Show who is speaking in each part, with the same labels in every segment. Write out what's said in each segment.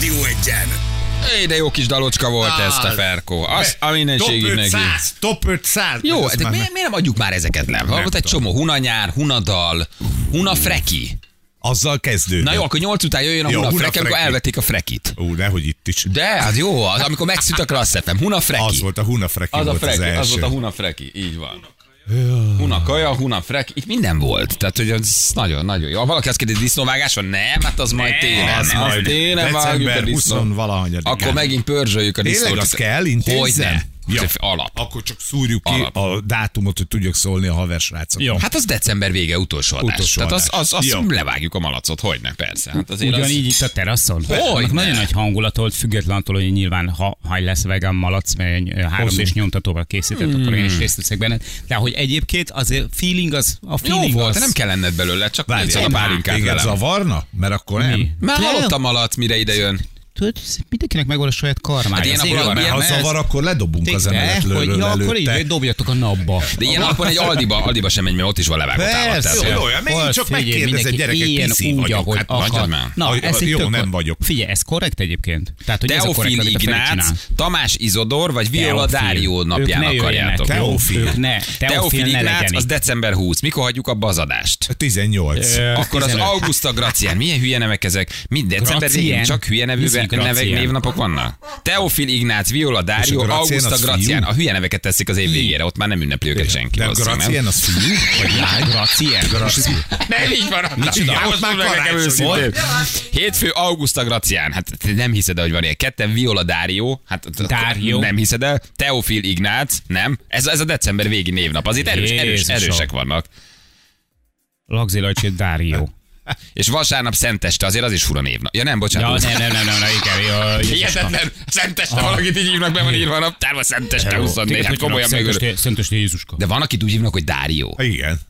Speaker 1: legyen.
Speaker 2: Éj, de jó kis dalocska volt
Speaker 3: Á,
Speaker 2: ez a Ferko. Az a
Speaker 3: top
Speaker 2: mindenségig neki.
Speaker 3: 500, top 500.
Speaker 2: Jó,
Speaker 3: Ez
Speaker 2: de
Speaker 3: már-
Speaker 2: miért, miért nem adjuk már ezeket le? Van ott egy csomó hunanyár, hunadal, hunafreki.
Speaker 1: Azzal kezdő.
Speaker 2: Na jó, akkor nyolc után jöjjön a
Speaker 1: Jó,
Speaker 2: hunafreki,
Speaker 1: hunafreki.
Speaker 2: amikor elvették a frekit.
Speaker 1: Ó, nehogy itt is.
Speaker 2: De, hát jó, az, amikor megszűnt a klassz FM. Hunafreki.
Speaker 1: Az volt a hunafreki
Speaker 2: az, a
Speaker 1: volt az
Speaker 2: freki,
Speaker 1: első.
Speaker 2: az volt a hunafreki, így van. Hunakaja, hunafreki, itt minden volt. Tehát, hogy az nagyon-nagyon jó. Ha valaki azt kérdezi, disznóvágás van? Nem, hát az majd télen.
Speaker 1: az
Speaker 2: Az,
Speaker 1: majd
Speaker 2: télen vágjuk a
Speaker 3: December
Speaker 2: disznó.
Speaker 3: 20-valahanyadikán.
Speaker 2: Akkor megint pörzsöljük a
Speaker 1: Tényleg
Speaker 2: disznót.
Speaker 1: azt kell intézzem?
Speaker 2: Hogyne.
Speaker 1: Ja.
Speaker 2: Ja. Alap.
Speaker 1: Akkor csak szúrjuk ki
Speaker 2: Alap.
Speaker 1: a dátumot, hogy tudjak szólni a haversrácoknak.
Speaker 3: Jó.
Speaker 2: Hát az december vége utolsó adás.
Speaker 1: Utolsó
Speaker 2: Tehát
Speaker 1: adás.
Speaker 2: az, az, az
Speaker 1: Jó.
Speaker 2: levágjuk a malacot, hogy ne, persze. Hát azért az...
Speaker 4: Ugyanígy itt a teraszon.
Speaker 2: Hogyne.
Speaker 4: Annak Nagyon nagy hangulat volt, független attól, hogy nyilván ha, ha lesz vegan malac, mert egy 3 d nyomtatóval készített, akkor én is részt veszek benne. De hogy egyébként azért feeling az, a
Speaker 2: Hmm. Jó
Speaker 4: feeling
Speaker 2: volt,
Speaker 4: az.
Speaker 2: de nem kell lenned belőle, csak
Speaker 1: Várj,
Speaker 2: nézd a pálinkát
Speaker 1: Téged
Speaker 2: velem.
Speaker 1: zavarna? Mert akkor nem.
Speaker 2: Már
Speaker 4: De-
Speaker 2: halott a malac, mire ide jön.
Speaker 4: Tudod, mindenkinek megvan a saját karmája.
Speaker 2: Hát ilyen
Speaker 4: Az
Speaker 2: a
Speaker 4: én-
Speaker 2: bolygó-
Speaker 1: Mert
Speaker 2: ilyen
Speaker 1: ha
Speaker 2: ez-
Speaker 1: zavar, akkor ledobunk az
Speaker 4: De, hogy
Speaker 1: emeletről
Speaker 4: ja, akkor így,
Speaker 1: előtte.
Speaker 4: hogy dobjatok a napba.
Speaker 2: De ilyen napon egy Aldiba, Aldiba sem menj, mert ott is van levágott állat.
Speaker 4: Persze.
Speaker 2: Tehát,
Speaker 1: Jó,
Speaker 2: hogy-
Speaker 1: jó, jó, megint
Speaker 4: Hol,
Speaker 1: csak
Speaker 4: figyelj,
Speaker 1: megkérdez egy
Speaker 4: mindenki
Speaker 1: gyerek, egy
Speaker 4: ilyen
Speaker 1: piszi
Speaker 4: úgy,
Speaker 1: vagyok,
Speaker 4: ahogy
Speaker 1: hát
Speaker 4: akar.
Speaker 2: nagyon már.
Speaker 4: Na,
Speaker 1: Aj,
Speaker 4: ez itt
Speaker 1: jó,
Speaker 4: tök
Speaker 1: nem
Speaker 4: kor-
Speaker 1: vagyok.
Speaker 4: Figyelj, ez korrekt egyébként? Tehát, hogy ez a korrekt,
Speaker 2: Teofil
Speaker 4: amit a Feri
Speaker 2: Ignác,
Speaker 4: csinál.
Speaker 2: Tamás Izodor vagy Viola
Speaker 4: Teofil.
Speaker 2: Dárió
Speaker 4: Ők
Speaker 2: napján
Speaker 4: ne
Speaker 2: akarjátok.
Speaker 4: jöjjenek.
Speaker 1: Teofil.
Speaker 4: Ők Ne,
Speaker 2: Teofil
Speaker 4: Teofil ne
Speaker 2: Ignác,
Speaker 4: legyen
Speaker 2: az
Speaker 4: itt.
Speaker 2: december 20. Mikor hagyjuk abba az adást?
Speaker 1: 18.
Speaker 2: Akkor az
Speaker 4: 15.
Speaker 2: Augusta Gracien. Milyen hülye nevek ezek? Mind december
Speaker 4: Gracien.
Speaker 2: végén csak hülye nevű
Speaker 4: Missy
Speaker 2: nevek,
Speaker 4: Gracien.
Speaker 2: névnapok vannak. Teofil Ignác, Viola Dárió,
Speaker 1: És a Gracien
Speaker 2: Augusta
Speaker 1: az fiú?
Speaker 2: Gracien. A hülye neveket teszik az év végére, ott már nem ünnepli őket senki.
Speaker 1: De a
Speaker 2: valószínűleg, nem?
Speaker 1: Gracien az fiú? Vagy lány?
Speaker 4: Gracien.
Speaker 1: Gracien.
Speaker 2: Nem így van.
Speaker 1: Micsoda?
Speaker 2: Igen,
Speaker 1: Ott
Speaker 2: most
Speaker 1: már
Speaker 2: meg nekem
Speaker 1: karácsony
Speaker 2: őszintén.
Speaker 1: volt.
Speaker 2: Hétfő Augusta Gracián. Hát te nem hiszed el, hogy van ilyen. Ketten Viola Dárió. Hát t-
Speaker 4: Dario.
Speaker 2: Nem hiszed el. Teofil Ignác. Nem. Ez, ez a december végi névnap. Azért erős, erős,
Speaker 4: Jézusom.
Speaker 2: erősek vannak.
Speaker 4: Lagzi Lajcsi Dárió.
Speaker 2: És vasárnap szenteste, azért az is fura névnap. Ja nem,
Speaker 4: Ja,
Speaker 2: bocsánat.
Speaker 4: nem, nem, nem, nem, nem, igen, jó, Jézuska.
Speaker 2: Hihetetlen. Szenteste valakit így hívnak, be van írva a naptárba. Szenteste 24. Hát komolyan
Speaker 4: Szentesté-
Speaker 2: megörök.
Speaker 4: Szentesté Jézuska.
Speaker 2: De van, akit úgy hívnak, hogy Dárió.
Speaker 1: Igen.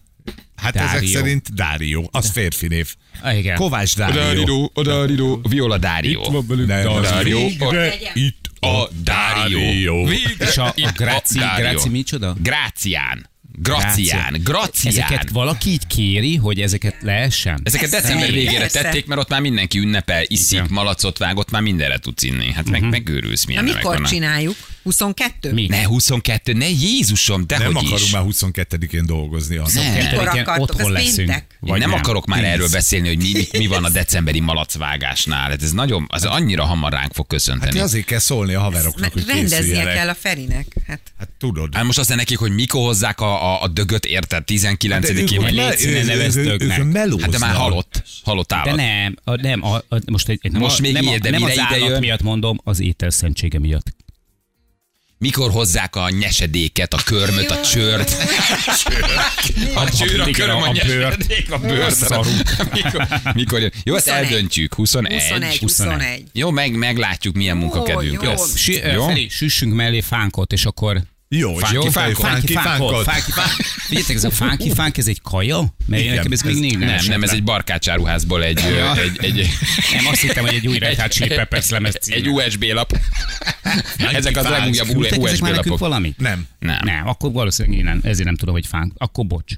Speaker 1: Hát ezek
Speaker 4: Dário.
Speaker 1: szerint Dário, az férfi név.
Speaker 4: Ah, Igen.
Speaker 1: Kovács Dário.
Speaker 2: Odárió. Viola Dárió.
Speaker 1: Nem, az
Speaker 2: Dário.
Speaker 1: végre Itt
Speaker 2: a Dárió. Végre
Speaker 4: És a,
Speaker 2: itt
Speaker 4: a Graci,
Speaker 2: Dárió.
Speaker 4: Graci micsoda?
Speaker 2: Grácián. Gracián. Gracián.
Speaker 4: Ezeket valaki így kéri, hogy ezeket leessen?
Speaker 2: Ezeket december
Speaker 5: Persze.
Speaker 2: végére
Speaker 5: Persze.
Speaker 2: tették, mert ott már mindenki ünnepel, iszik,
Speaker 4: Igen.
Speaker 2: malacot vágott, már mindenre tudsz inni. Hát meg, megőrülsz,
Speaker 5: Na
Speaker 2: milyen nevek
Speaker 5: mikor
Speaker 2: vannak.
Speaker 5: csináljuk? 22?
Speaker 4: Mi?
Speaker 2: Ne, 22, ne Jézusom, de
Speaker 1: Nem
Speaker 2: hogy
Speaker 1: akarunk
Speaker 2: is.
Speaker 1: már 22-én dolgozni. Az
Speaker 2: Ne.
Speaker 5: Mikor
Speaker 4: Igen,
Speaker 5: akartok?
Speaker 4: otthon
Speaker 5: Ez
Speaker 4: leszünk.
Speaker 5: péntek?
Speaker 2: Én nem, akarok már
Speaker 1: Tíz.
Speaker 2: erről beszélni, hogy mi, mi, mi van a decemberi malacvágásnál. Hát ez nagyon, az annyira hamar ránk fog
Speaker 1: Hát
Speaker 2: köszönteni.
Speaker 1: ti azért kell szólni a haveroknak,
Speaker 5: Mert
Speaker 1: hogy
Speaker 5: rendeznie
Speaker 1: készüljenek.
Speaker 5: kell a Ferinek. Hát
Speaker 1: Hát tudod.
Speaker 2: Hát most azt nekik, hogy mikor hozzák a, a, a dögöt, érted? 19-én.
Speaker 4: ők-
Speaker 2: vagy-
Speaker 4: légy színe neveztőknek.
Speaker 2: Hát de már halott, halott állat.
Speaker 4: De nem, a, nem, a, a, most, egy, egy- nem,
Speaker 2: Most
Speaker 4: a,
Speaker 2: még
Speaker 4: nem,
Speaker 2: ilyen,
Speaker 4: a,
Speaker 2: de
Speaker 4: nem
Speaker 2: mire
Speaker 4: az
Speaker 2: ide
Speaker 4: állat
Speaker 2: jön?
Speaker 4: miatt mondom, az ételszentsége miatt.
Speaker 2: Mikor hozzák a nyesedéket, a körmöt, a csört? A csőr, a
Speaker 4: igen,
Speaker 2: köröm, a
Speaker 4: a bőr.
Speaker 2: nyesedék, a bőr.
Speaker 4: A szarunk.
Speaker 2: Mikor, mikor jön? Jó, ezt
Speaker 5: 21.
Speaker 2: eldöntjük. 21.
Speaker 5: 21, 21.
Speaker 2: Jó, meg, meglátjuk, milyen munkakedvünk
Speaker 5: jó.
Speaker 2: lesz.
Speaker 4: Sí,
Speaker 2: Jó?
Speaker 4: jó? Feri, süssünk mellé fánkot, és akkor...
Speaker 1: Jó, és
Speaker 2: Fánki,
Speaker 1: jó,
Speaker 2: fánkot.
Speaker 1: fánki,
Speaker 4: fánkot.
Speaker 1: fánkot.
Speaker 4: Fánki, fánk. Figyeljetek, ez a fánki fánk, ez egy kaja?
Speaker 1: Igen,
Speaker 4: Mert Igen, nekem ez még
Speaker 1: ez-
Speaker 4: nincs.
Speaker 2: Nem, nem, ez egy barkácsáruházból egy, ö, egy, egy,
Speaker 4: Nem, azt hittem, hogy egy új Red Hot Chili Peppers lemez címe.
Speaker 2: egy USB lap. Ezek az
Speaker 1: fánk.
Speaker 2: legújabb
Speaker 4: Küldtek ezek
Speaker 2: USB
Speaker 4: már nekünk
Speaker 2: lapok.
Speaker 4: valamit?
Speaker 1: Nem.
Speaker 2: Nem.
Speaker 4: Nem, akkor valószínűleg én nem, ezért nem tudom, hogy fánk. Akkor bocs.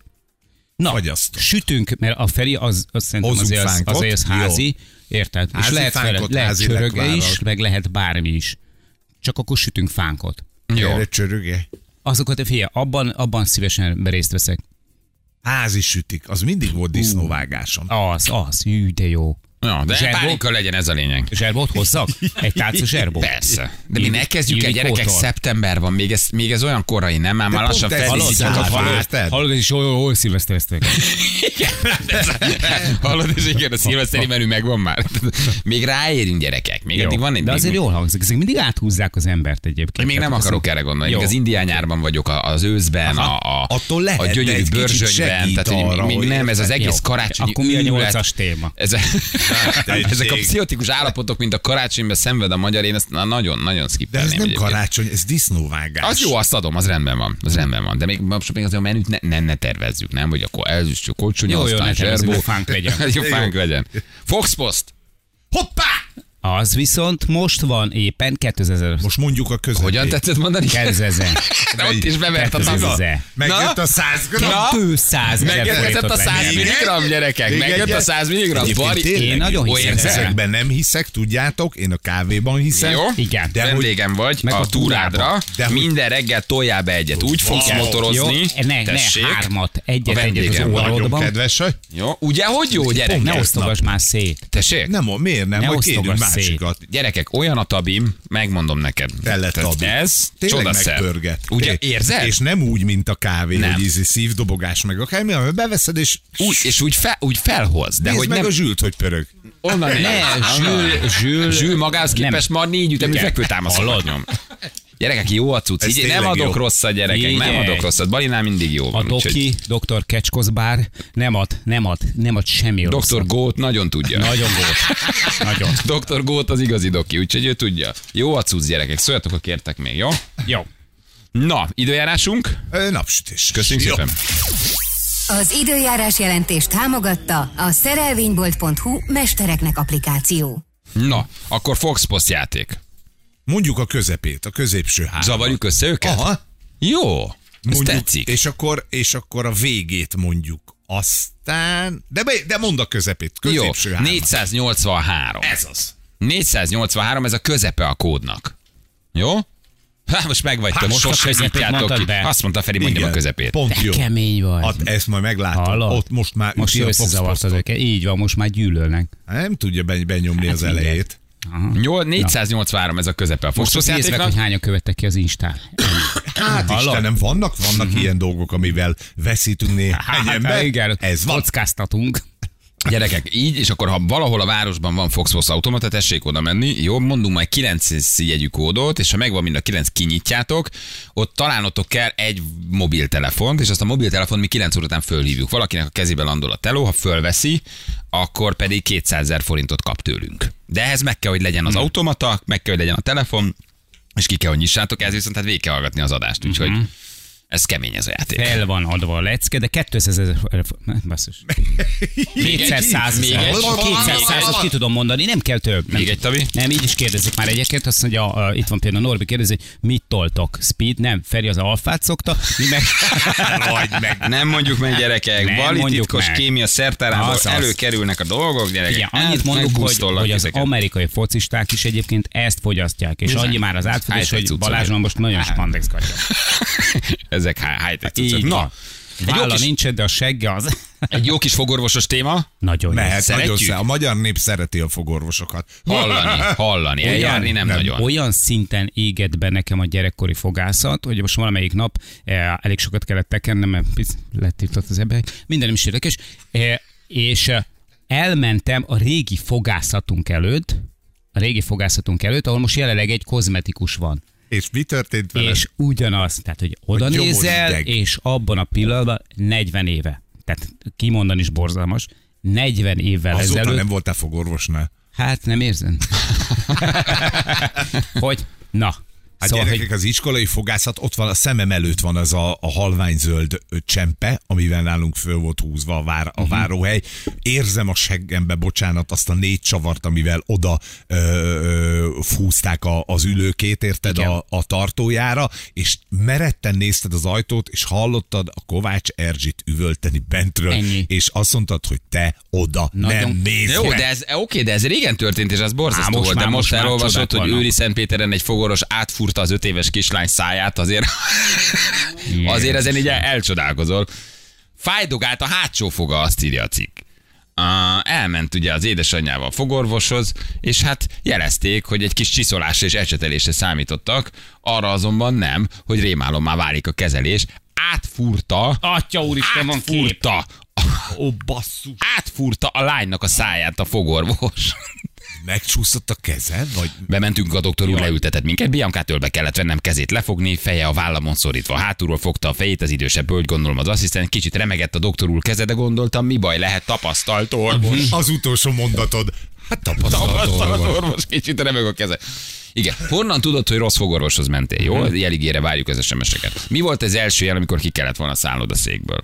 Speaker 4: Na,
Speaker 1: Fagyasztó.
Speaker 4: sütünk, mert a Feri az, az szerintem
Speaker 1: Hozzuk
Speaker 4: azért az,
Speaker 1: fánkot.
Speaker 4: azért az házi, érted?
Speaker 1: Házi
Speaker 4: és lehet,
Speaker 1: fánkot,
Speaker 4: fele, lehet
Speaker 1: házi
Speaker 4: csöröge
Speaker 1: lekvárral.
Speaker 4: is, meg lehet bármi is. Csak akkor sütünk fánkot.
Speaker 2: Jó.
Speaker 1: Erre csöröge.
Speaker 4: Azokat, figyelj, abban, abban szívesen részt veszek.
Speaker 1: Házi sütik, az mindig volt disznóvágáson.
Speaker 4: Az, az, hű, de jó.
Speaker 2: Ja, De
Speaker 4: Zserbó?
Speaker 2: pálinka legyen ez a lényeg.
Speaker 4: Zserbót hozzak? Egy tálca zserbót?
Speaker 2: Persze. De mi
Speaker 4: Illik-
Speaker 2: ne kezdjük el,
Speaker 4: illikótól.
Speaker 2: gyerekek, szeptember van, még ez, még ez olyan korai, nem? Már, már
Speaker 1: pont
Speaker 2: lassan
Speaker 1: ez
Speaker 2: felhívjuk
Speaker 1: bizarr.
Speaker 2: a
Speaker 1: Hallod?
Speaker 2: falat.
Speaker 1: Érted?
Speaker 4: Hát, Hallod, és hol, hol szilvesztereztek?
Speaker 2: Hallod, és igen, a szilveszteri menü megvan már. Még ráérünk gyerekek, még addig van egy...
Speaker 4: De azért
Speaker 2: még,
Speaker 4: jól hangzik, ezek mindig áthúzzák az embert egyébként.
Speaker 2: még nem
Speaker 4: Tehát
Speaker 2: akarok
Speaker 4: ez-
Speaker 2: erre gondolni. Még
Speaker 4: Jó.
Speaker 2: az indián nyárban vagyok, a- az őszben, a, a,
Speaker 1: Attól lehet,
Speaker 2: a
Speaker 1: de
Speaker 2: gyönyörű
Speaker 1: egy kicsit
Speaker 2: bőrzsönyben.
Speaker 1: segít
Speaker 2: Tehát, hogy
Speaker 1: arra,
Speaker 2: még
Speaker 1: hogy
Speaker 2: nem, ez az
Speaker 4: Jó.
Speaker 2: egész karácsonyi
Speaker 4: Akkor mi a
Speaker 2: őrület.
Speaker 4: nyolcas téma?
Speaker 2: Ez, ezek a
Speaker 1: Hát, tessék.
Speaker 2: pszichotikus állapotok, mint a karácsonyban szenved a magyar, én ezt na- nagyon-nagyon
Speaker 1: De
Speaker 2: skippelném.
Speaker 1: ez nem
Speaker 2: egyébként.
Speaker 1: karácsony, ez disznóvágás.
Speaker 2: Az jó, azt adom, az rendben van, az rendben van. De még most még az a menüt ne, ne, ne tervezzük, nem? Hogy akkor ez is csak kocsonya,
Speaker 4: Jó, jó,
Speaker 2: aztán
Speaker 4: ne tervezzük,
Speaker 2: zserbó.
Speaker 4: fánk legyen.
Speaker 2: Jó, fánk legyen. Foxpost.
Speaker 1: Hoppá!
Speaker 4: Az viszont most van éppen 2000.
Speaker 1: Most mondjuk a közepét.
Speaker 2: Hogyan tetszett mondani?
Speaker 4: 2000.
Speaker 2: De ott is bevert a taga.
Speaker 4: 2000.
Speaker 1: Megjött
Speaker 2: Na?
Speaker 1: a 100 gram.
Speaker 2: Na?
Speaker 4: 200 ezer
Speaker 2: Megérkezett
Speaker 4: forintot
Speaker 2: a 100
Speaker 4: venni.
Speaker 2: mg, gyerekek.
Speaker 1: Még
Speaker 2: Megjött a
Speaker 1: egyet?
Speaker 2: 100 mg.
Speaker 1: Egyébként
Speaker 2: Bari,
Speaker 1: tényleg
Speaker 4: Én nagyon
Speaker 2: jó
Speaker 4: hiszek
Speaker 2: érzel?
Speaker 4: ezekben.
Speaker 1: Ezekben nem hiszek, tudjátok, én a kávéban hiszem.
Speaker 2: Jó?
Speaker 4: Igen.
Speaker 2: De
Speaker 1: De hogy,
Speaker 2: Vendégem vagy,
Speaker 4: Meg
Speaker 2: a
Speaker 4: a
Speaker 2: túrádra,
Speaker 4: túrába.
Speaker 1: De hogy-
Speaker 2: minden reggel toljál be egyet. Úgy fogsz
Speaker 1: Wow.
Speaker 2: motorozni.
Speaker 4: Jó, ne, ne,
Speaker 2: Tessék.
Speaker 4: hármat.
Speaker 2: A
Speaker 4: Egyet, egyet az
Speaker 2: vendégem.
Speaker 1: nagyon
Speaker 4: órodban.
Speaker 1: kedves vagy.
Speaker 2: Jó, ugye, hogy jó, gyerek?
Speaker 4: Ne osztogass már szét.
Speaker 2: Tessék?
Speaker 1: Nem, miért nem?
Speaker 4: Ne
Speaker 1: Majd
Speaker 4: osztogass
Speaker 1: kérünk
Speaker 4: szét.
Speaker 1: másikat.
Speaker 2: Gyerekek, olyan a tabim, megmondom neked.
Speaker 1: Tele
Speaker 2: Tehát
Speaker 1: tabi.
Speaker 2: Ez
Speaker 1: Tényleg
Speaker 2: csodaszer.
Speaker 1: megpörget.
Speaker 2: Ugye,
Speaker 1: Té-
Speaker 2: érzed?
Speaker 1: És nem úgy, mint a kávé,
Speaker 2: Nem.
Speaker 1: hogy ízi szívdobogás meg akármi, hanem beveszed, és
Speaker 2: úgy, és úgy, fel, úgy felhoz, de
Speaker 1: nézd
Speaker 2: hogy
Speaker 1: meg
Speaker 2: nem...
Speaker 1: a zsült, hogy pörög.
Speaker 2: Onnan ér.
Speaker 4: Ne, Zsül, Zsül,
Speaker 2: Zsül magához képest ma négy ütemű
Speaker 4: Igen.
Speaker 2: fekvőtámaszot nyom. Gyerekek, jó a cucc.
Speaker 1: Ez
Speaker 2: Így, nem
Speaker 1: tényleg
Speaker 2: adok
Speaker 1: jó.
Speaker 2: rosszat, gyerekek, nem
Speaker 4: Figyelj.
Speaker 2: adok rosszat. Balinál mindig jó
Speaker 4: A
Speaker 2: van. úgyhogy-
Speaker 4: doki, dr. Kecskoszbár nem ad, nem ad, nem ad semmi
Speaker 2: Dr. Gót nagyon tudja.
Speaker 4: Nagyon volt. Nagyon.
Speaker 2: Dr. Gót az igazi doki, úgyhogy ő tudja. Jó a cucc, gyerekek. Szóljatok, ha kértek még, jó?
Speaker 4: Jó.
Speaker 2: Na, időjárásunk.
Speaker 1: Ö, Napsütés.
Speaker 2: Köszönjük
Speaker 1: Jó.
Speaker 2: szépen.
Speaker 3: Az időjárás jelentést támogatta a szerelvénybolt.hu mestereknek applikáció.
Speaker 2: Na, akkor Foxpost játék.
Speaker 1: Mondjuk a közepét, a középső hármat.
Speaker 2: Zavarjuk össze őket?
Speaker 1: Aha.
Speaker 2: Jó. Ez
Speaker 1: Mondjuk,
Speaker 2: tetszik.
Speaker 1: És akkor, és akkor a végét mondjuk. Aztán... De, be, de mondd a közepét,
Speaker 2: Jó,
Speaker 1: középső hármat.
Speaker 2: 483.
Speaker 1: Ez az.
Speaker 2: 483, ez a közepe a kódnak. Jó? Hát most meg vagy te,
Speaker 4: most a
Speaker 2: sose
Speaker 4: közepét
Speaker 2: nyitjátok
Speaker 4: mondtad
Speaker 2: ki.
Speaker 4: be.
Speaker 2: Azt mondta Feri, mondjam a
Speaker 1: Igen,
Speaker 2: közepét.
Speaker 1: Pont
Speaker 4: De
Speaker 1: jó.
Speaker 4: kemény vagy.
Speaker 1: Hát ezt majd meglátod.
Speaker 4: Hallod?
Speaker 1: Ott most már
Speaker 4: Most
Speaker 1: üti a
Speaker 4: összezavartad
Speaker 1: foxposztot.
Speaker 4: őket. Így van, most már gyűlölnek.
Speaker 1: Nem tudja beny- benyomni az
Speaker 4: mindegy.
Speaker 1: elejét.
Speaker 2: Nyol- 483 ez a közepe a
Speaker 4: Most
Speaker 2: Foxos
Speaker 4: nézd meg,
Speaker 2: játéknak.
Speaker 4: hogy hányan követtek ki az Instán.
Speaker 1: Hát
Speaker 4: Hallod? Mhm.
Speaker 1: Istenem, vannak, vannak ilyen dolgok, amivel veszítünk néhány
Speaker 4: hát,
Speaker 1: embert.
Speaker 4: igen,
Speaker 1: Ez van.
Speaker 4: Kockáztatunk.
Speaker 2: Gyerekek, így, és akkor ha valahol a városban van Foxbox automata, tessék oda menni, jó, mondunk majd 9 jegyű kódot, és ha megvan mind a 9, kinyitjátok, ott találnotok kell egy mobiltelefont, és azt a mobiltelefont mi 9 óra után fölhívjuk. Valakinek a kezébe landol a teló, ha fölveszi, akkor pedig 200 ezer forintot kap tőlünk. De ehhez meg kell, hogy legyen az automata, meg kell, hogy legyen a telefon, és ki kell, hogy nyissátok, ez viszont hát végig kell hallgatni az adást, úgyhogy ez kemény ez a játék.
Speaker 4: Fel van adva a lecke, de 200 ezer... Basszus. 200 száz
Speaker 2: Még egy.
Speaker 4: ezer.
Speaker 2: Még
Speaker 4: 200
Speaker 2: egy.
Speaker 4: százat ki tudom mondani, nem kell több. Nem.
Speaker 2: Még egy, Tavi?
Speaker 4: Nem, így is kérdezik már egyébként, azt mondja, a, itt van például Norbi kérdezi, hogy mit toltok? Speed? Nem, Feri az alfát szokta, mi meg...
Speaker 1: Vagy meg.
Speaker 2: Nem mondjuk meg, gyerekek.
Speaker 4: Nem
Speaker 2: Bali
Speaker 4: mondjuk
Speaker 2: titkos
Speaker 4: meg.
Speaker 2: kémia szertárából
Speaker 4: Azaz.
Speaker 2: előkerülnek a dolgok, gyerekek.
Speaker 4: Ugye, annyit
Speaker 2: Hát,
Speaker 4: mondok, hogy,
Speaker 2: megbusztollak
Speaker 4: hogy az
Speaker 2: ezeket.
Speaker 4: amerikai focisták is egyébként ezt fogyasztják, és
Speaker 2: Bizony.
Speaker 4: annyi már az átfedés,
Speaker 2: High-tech
Speaker 4: hogy
Speaker 2: cuccok. Hát.
Speaker 4: Balázsban most nagyon spandex katya.
Speaker 2: Ezek há- high-tech cuccok.
Speaker 4: Így
Speaker 2: Na,
Speaker 4: Na,
Speaker 2: egy jó,
Speaker 4: Vála
Speaker 2: kis,
Speaker 4: nincs, de a segge az
Speaker 2: egy jó kis fogorvosos téma.
Speaker 4: nagyon jó.
Speaker 1: Mehet,
Speaker 2: Szeretjük?
Speaker 1: nagyon szá- A magyar nép szereti a fogorvosokat.
Speaker 2: Hallani, hallani, eljárni nem, nagyon.
Speaker 4: Olyan szinten égett be nekem a gyerekkori fogászat, hogy most valamelyik nap eh, elég sokat kellett tekernem, mert pic- letiltott az ebbe, minden nem is érdekes, eh, és eh, elmentem a régi fogászatunk előtt, a régi fogászatunk előtt, ahol most jelenleg egy kozmetikus van.
Speaker 1: És mi történt veled?
Speaker 4: És ugyanaz, tehát hogy oda
Speaker 1: gyomor
Speaker 4: nézel,
Speaker 1: ideg.
Speaker 4: és abban a pillanatban 40 éve, tehát kimondani is borzalmas, 40 évvel
Speaker 1: Azóta
Speaker 4: ezelőtt
Speaker 1: nem voltál fogorvosnál.
Speaker 4: Hát nem érzem. hogy? Na.
Speaker 1: Hát szóval, gyerekek, az iskolai fogászat, ott van a szemem előtt van az a, a halványzöld ö, csempe, amivel nálunk föl volt húzva a, vár, a váróhely. Érzem a seggembe, bocsánat, azt a négy csavart, amivel oda ö, ö, fúzták a, az ülőkét, érted,
Speaker 4: Igen.
Speaker 1: a, a tartójára, és meretten nézted az ajtót, és hallottad a Kovács Erzsit üvölteni bentről,
Speaker 4: Ennyi.
Speaker 1: és azt mondtad, hogy te oda
Speaker 4: Nagyon-
Speaker 1: nem mész
Speaker 2: Jó,
Speaker 1: be.
Speaker 2: de ez, oké, de ez régen történt, és ez
Speaker 4: Á,
Speaker 2: borzasztó
Speaker 4: most
Speaker 2: volt, de
Speaker 4: már-
Speaker 2: most
Speaker 4: most már
Speaker 2: elolvasott,
Speaker 4: csodák
Speaker 2: hogy
Speaker 4: vannak.
Speaker 2: Őri Szentpéteren egy fogoros átfúrta az öt éves kislány száját, azért, azért ezen így el- elcsodálkozol. Fájdogált a hátsó foga, azt írja a cikk. Uh, elment ugye az édesanyjával a fogorvoshoz, és hát jelezték, hogy egy kis csiszolásra és ecsetelésre számítottak, arra azonban nem, hogy rémálommá válik a kezelés, átfúrta,
Speaker 4: Atya
Speaker 2: Hát
Speaker 4: úristen, van kép.
Speaker 2: átfúrta
Speaker 1: Ó, basszus.
Speaker 2: átfúrta Hát a lánynak a száját a fogorvos.
Speaker 1: Megcsúszott a kezed, vagy
Speaker 2: Bementünk, a doktor úr leültetett minket, Biancát ölbe kellett vennem kezét lefogni, feje a vállamon szorítva. Hátulról fogta a fejét, az idősebb hölgy, gondolom az asszisztent, kicsit remegett a doktor úr keze, de gondoltam, mi baj lehet, tapasztalt orvos.
Speaker 1: az utolsó mondatod? Hát tapasztalt
Speaker 2: Tapasztalt
Speaker 1: orvos.
Speaker 2: orvos, kicsit remeg a keze. Igen. Honnan tudod, hogy rossz fogorvoshoz mentél? Jó,
Speaker 6: Mhm.
Speaker 2: jeligére várjuk az SMS-eket. Mi volt az első jel, amikor ki kellett volna szállnod a székből?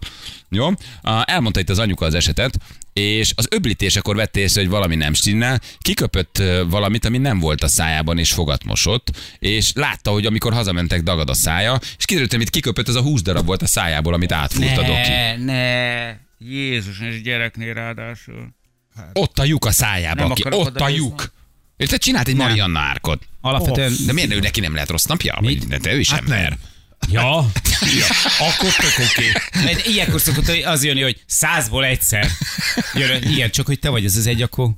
Speaker 2: Jó? Á, Elmondta itt az anyuka az esetet, és az öblítésekor vette észre, hogy valami nem stimmel, kiköpött ö, valamit, ami nem volt a szájában, és fogat mosott, és látta, hogy amikor hazamentek, dagad a szája, és kiderült, amit kiköpött, az a 20 darab volt a szájából, amit átfúrt a doki.
Speaker 6: ne. Jézus, és gyereknél ráadásul.
Speaker 2: Ott a lyuk a szájában,
Speaker 6: Nem
Speaker 2: aki,
Speaker 6: akarok
Speaker 2: ott a
Speaker 6: oda
Speaker 2: lyuk. Érted? Csinált egy Marianna árkot.
Speaker 4: Alapvetően...
Speaker 2: Hát De miért ő neki nem lehet rossz napja? Vagy, de ő is hát ember.
Speaker 4: Ja.
Speaker 1: Ja, akkor tök oké.
Speaker 4: Mert ilyenkor szokott az jönni, hogy százból egyszer. Jön, igen, csak hogy te vagy az az egy, akkor...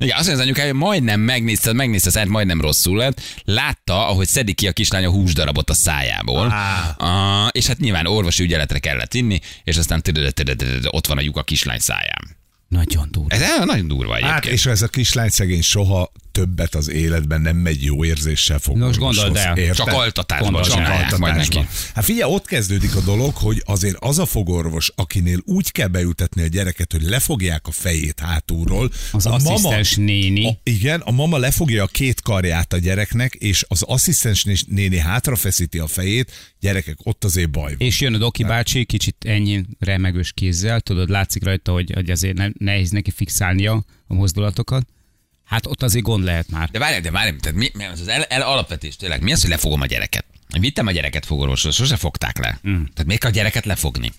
Speaker 2: Igen, azt mondja az anyukája, hogy majdnem megnézte, megnézte szent, majdnem rosszul lett. Látta, ahogy szedik ki a kislány a húsdarabot a szájából. Ah. és hát nyilván orvosi ügyeletre kellett vinni, és aztán tüdö, tüdö, tüdö, ott van a lyuk a kislány száján.
Speaker 4: Nagyon durva.
Speaker 2: Ez el- nagyon durva
Speaker 1: Hát,
Speaker 2: egyébként.
Speaker 1: és ez a kislány szegény soha többet az életben nem megy jó érzéssel fog.
Speaker 4: Nos, gondold el.
Speaker 2: Csak altatásban
Speaker 4: Gondold el.
Speaker 1: Csak
Speaker 2: csinálják majd neki.
Speaker 1: altatásban. Hát figyelj, ott kezdődik a dolog, hogy azért az a fogorvos, akinél úgy kell beültetni a gyereket, hogy lefogják a fejét hátulról.
Speaker 4: Az
Speaker 1: a
Speaker 4: asszisztens néni.
Speaker 1: A, igen, a mama lefogja a két karját a gyereknek, és az asszisztens né- néni hátrafeszíti a fejét, gyerekek, ott azért baj van.
Speaker 4: És jön a
Speaker 2: Hát.
Speaker 4: Doki bácsi, kicsit ennyi remegős kézzel, tudod, látszik rajta, hogy, hogy azért nem, nehéz neki fixálnia a mozdulatokat. Hát ott azért gond lehet már.
Speaker 2: De várjál, de várjál, tehát mi, mi az, az el, el, alapvetés tényleg? Mi az, hogy lefogom a gyereket? Vittem a gyereket fogorvoshoz, sose fogták le. Mm. Tehát miért kell a gyereket lefogni?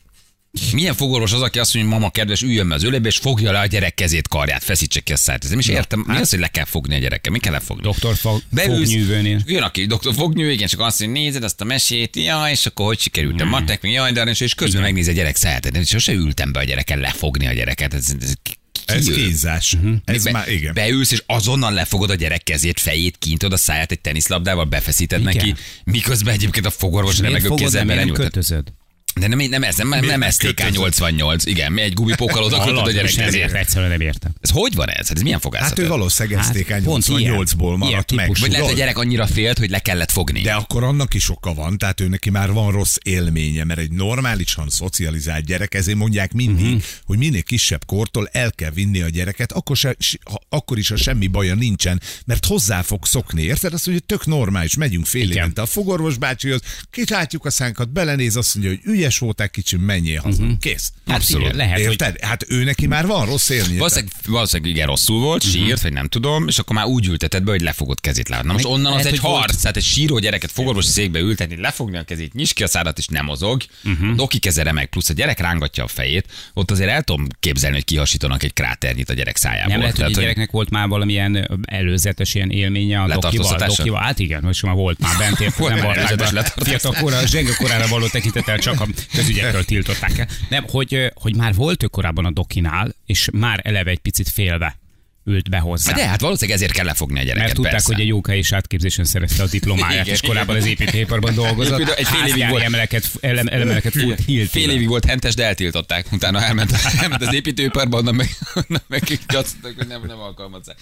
Speaker 2: Milyen fogorvos az, aki azt mondja, hogy mama kedves, üljön be az ölébe, és fogja le a gyerek kezét, karját, feszítse ki a száját. Ez nem is értem, mi az, hogy le kell fogni a gyerekkel, mi kell lefogni?
Speaker 4: Doktor fog,
Speaker 2: Beülsz,
Speaker 4: fognyűvőnél.
Speaker 2: jön, aki doktor fognyű, igen, csak azt mondja, nézed azt a mesét, ja, és akkor hogy sikerült a matek, mi jaj, de aranyos, és közben megnézi a gyerek száját, de sose ültem be a gyereken lefogni a gyereket. Ez, ez, ki- ki
Speaker 1: Ez
Speaker 2: ő?
Speaker 1: kínzás.
Speaker 4: Mhm.
Speaker 1: Ez
Speaker 2: Be-
Speaker 1: már, igen.
Speaker 2: Beülsz, és azonnal lefogod a gyerek kezét, fejét, kintod a száját egy teniszlabdával, befeszíted
Speaker 4: Igen.
Speaker 2: neki, miközben egyébként a fogorvos
Speaker 4: Miért
Speaker 2: remegő
Speaker 4: fogod, de
Speaker 2: kézzel
Speaker 4: miért nem
Speaker 2: belenyúlt.
Speaker 4: kötözöd?
Speaker 2: De nem, nem ez, nem, nem
Speaker 1: nem
Speaker 2: STK
Speaker 1: kötözöd?
Speaker 2: 88, igen, mi egy gumipókkal oda kötöd Hát, a
Speaker 4: Hallod,
Speaker 2: gyerek
Speaker 4: és nem
Speaker 2: kezét.
Speaker 4: értem, egyszerűen nem értem.
Speaker 2: Ez hogy van ez? Ez milyen fogászat?
Speaker 1: Hát ő
Speaker 2: ez?
Speaker 1: valószínűleg
Speaker 4: Hát,
Speaker 1: STK
Speaker 4: pont ilyen.
Speaker 1: 88-ból
Speaker 4: Ilyen
Speaker 1: maradt meg.
Speaker 4: típusú.
Speaker 2: Vagy lehet, hogy a
Speaker 1: tudod?
Speaker 2: gyerek annyira félt, hogy le kellett fogni.
Speaker 1: De akkor annak is oka van, tehát ő neki már van rossz élménye, mert egy normálisan szocializált gyerek, ezért mondják mindig,
Speaker 4: Mhm.
Speaker 1: uh-huh. hogy minél kisebb kortól el kell vinni a gyereket, akkor, se, si- ha, akkor is, ha semmi baja nincsen, mert hozzá fog szokni, érted? Azt mondja, hogy tök normális, megyünk fél
Speaker 4: Igen.
Speaker 1: évente a fogorvos bácsihoz, kitátjuk a szánkat, belenéz, azt mondja, hogy ügyes voltál kicsi, menjél haza. Uh-huh. Kész.
Speaker 4: Hát igen, lehet, hogy-
Speaker 1: érted? Hát ő neki már van rossz élménye.
Speaker 2: Valószínűleg, valószínűleg igen, rosszul volt,
Speaker 4: Mhm.
Speaker 2: sírt, uh-huh. vagy nem tudom, és akkor már úgy ültetett be, hogy lefogott kezét le. Na most
Speaker 4: Meg
Speaker 2: onnan az
Speaker 4: lehet,
Speaker 2: egy
Speaker 4: hogy volt-
Speaker 2: harc, tehát egy síró gyereket fogorvosi székbe ültetni, lefogni a kezét, nyis ki a szádat, és nem mozog.
Speaker 4: Mhm.
Speaker 2: Uh-huh. Doki keze remeg, plusz a gyerek rángatja a fejét, ott azért el tudom képzelni, hogy kihasítanak egy kráternyi a gyerek szájából.
Speaker 4: Nem lehet, hogy
Speaker 2: Tehát,
Speaker 4: a gyereknek volt már valamilyen előzetes ilyen élménye a dokival.
Speaker 2: Letartóztatása?
Speaker 4: dokival. Hát igen, most már volt már bent, érted,
Speaker 2: Volt
Speaker 4: nem
Speaker 2: már
Speaker 4: volt
Speaker 2: előzetes
Speaker 4: már
Speaker 2: letartóztatás.
Speaker 4: fiatal korra, zsenge korára való tekintettel csak a közügyektől tiltották el. Nem, hogy, ö, hogy már volt ő korábban a dokinál, és már eleve egy picit félve ült be hozzá.
Speaker 2: Hát de hát valószínűleg ezért kell lefogni a gyereket.
Speaker 4: Mert tudták,
Speaker 2: persze.
Speaker 4: hogy egy jó és átképzésen szerezte a diplomáját,
Speaker 2: Igen,
Speaker 4: és korábban
Speaker 2: igen.
Speaker 4: az építőiparban dolgozott.
Speaker 2: Egy fél évig
Speaker 4: Házgyári
Speaker 2: volt.
Speaker 4: emeleket, elem, elemeleket fújt hilt.
Speaker 2: Fél évig volt hentes, de eltiltották. Utána elment, elment az építőiparba, onnan meg, onnan meg kicsacottak, hogy nem, nem alkalmazzák.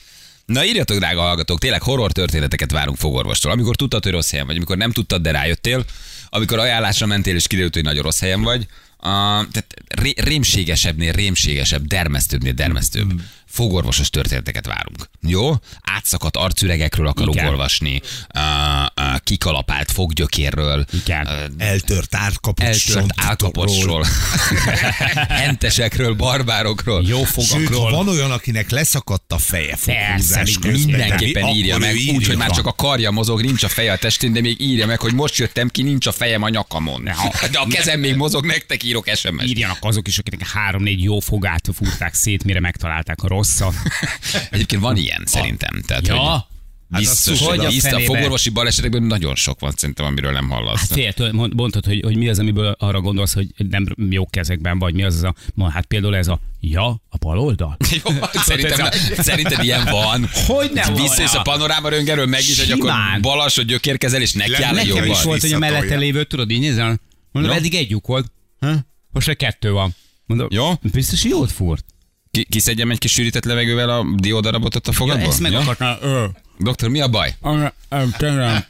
Speaker 2: Na írjatok, drága hallgatók, tényleg horror történeteket várunk fogorvostól. Amikor tudtad, hogy rossz helyen vagy, amikor nem tudtad, de rájöttél, amikor ajánlásra mentél, és kiderült, hogy nagyon rossz helyen vagy. Uh, tehát ré- rémségesebbnél rémségesebb, dermesztőbbnél dermesztőbb.
Speaker 4: Hmm.
Speaker 2: Fogorvosos történeteket várunk. Jó? Átszakadt arcüregekről akarunk
Speaker 4: Igen.
Speaker 2: olvasni, uh, uh, kikalapált foggyökérről,
Speaker 4: Igen.
Speaker 2: ö,
Speaker 1: eltört árkapocsról.
Speaker 2: eltört álkapocsról, hentesekről, barbárokról.
Speaker 4: Jó
Speaker 1: Sőt, ha
Speaker 4: fogakról.
Speaker 1: van olyan, akinek leszakadt a feje
Speaker 4: Persze,
Speaker 1: foghúzás
Speaker 4: mindenki-
Speaker 1: közben.
Speaker 2: Mindenképpen
Speaker 1: de mi-
Speaker 2: írja
Speaker 1: akkor
Speaker 2: meg,
Speaker 1: ő
Speaker 2: úgy, hogy már
Speaker 1: írjon.
Speaker 2: csak a karja mozog, nincs a feje a testén, de még írja meg, hogy most jöttem ki, nincs a fejem a nyakamon. De a kezem még mozog, nektek írok SMS-t.
Speaker 4: Írjanak azok is, akiknek három-négy jó fogát fúrták szét, mire megtalálták a rosszat.
Speaker 2: Egyébként van ilyen szerintem. Tehát,
Speaker 4: Ja.
Speaker 2: hogy
Speaker 1: Hát az
Speaker 2: Biztos,
Speaker 1: hogy
Speaker 2: hogy
Speaker 1: a
Speaker 2: a, biztos, a
Speaker 4: fenébe? Hát
Speaker 2: fogorvosi balesetekben nagyon sok van szerintem, amiről nem hallasz.
Speaker 4: Fél, tőle mond- mondtad, hogy, hogy mi az, amiből arra gondolsz, hogy nem jó kezekben vagy, mi az az a, ma, hát például ez a, ja, a bal oldal?
Speaker 2: Jó, szerintem, szerintem ilyen van.
Speaker 4: Hogy ne van
Speaker 2: Visszajössz a
Speaker 4: olyan?
Speaker 2: panoráma röngerről, meg is, hogy akkor
Speaker 4: Simán.
Speaker 2: balas, hogy gyökérkezel, és neki áll a
Speaker 4: Nekem
Speaker 2: jobban.
Speaker 4: is volt, hogy a
Speaker 1: visszatolja.
Speaker 4: mellette lévő, tudod, így nézel, mondom,
Speaker 2: Jó.
Speaker 4: eddig egy lyuk volt, Hä? most egy kettő van. Mondom,
Speaker 2: Jó.
Speaker 4: biztos jót fúrt.
Speaker 2: Ki, kiszedjem egy kis sűrített levegővel a diódarabot ott a fogadból?
Speaker 4: ezt meg akartam, ö,
Speaker 2: Doktor, mi a baj?
Speaker 4: Arra, ö, tegnap,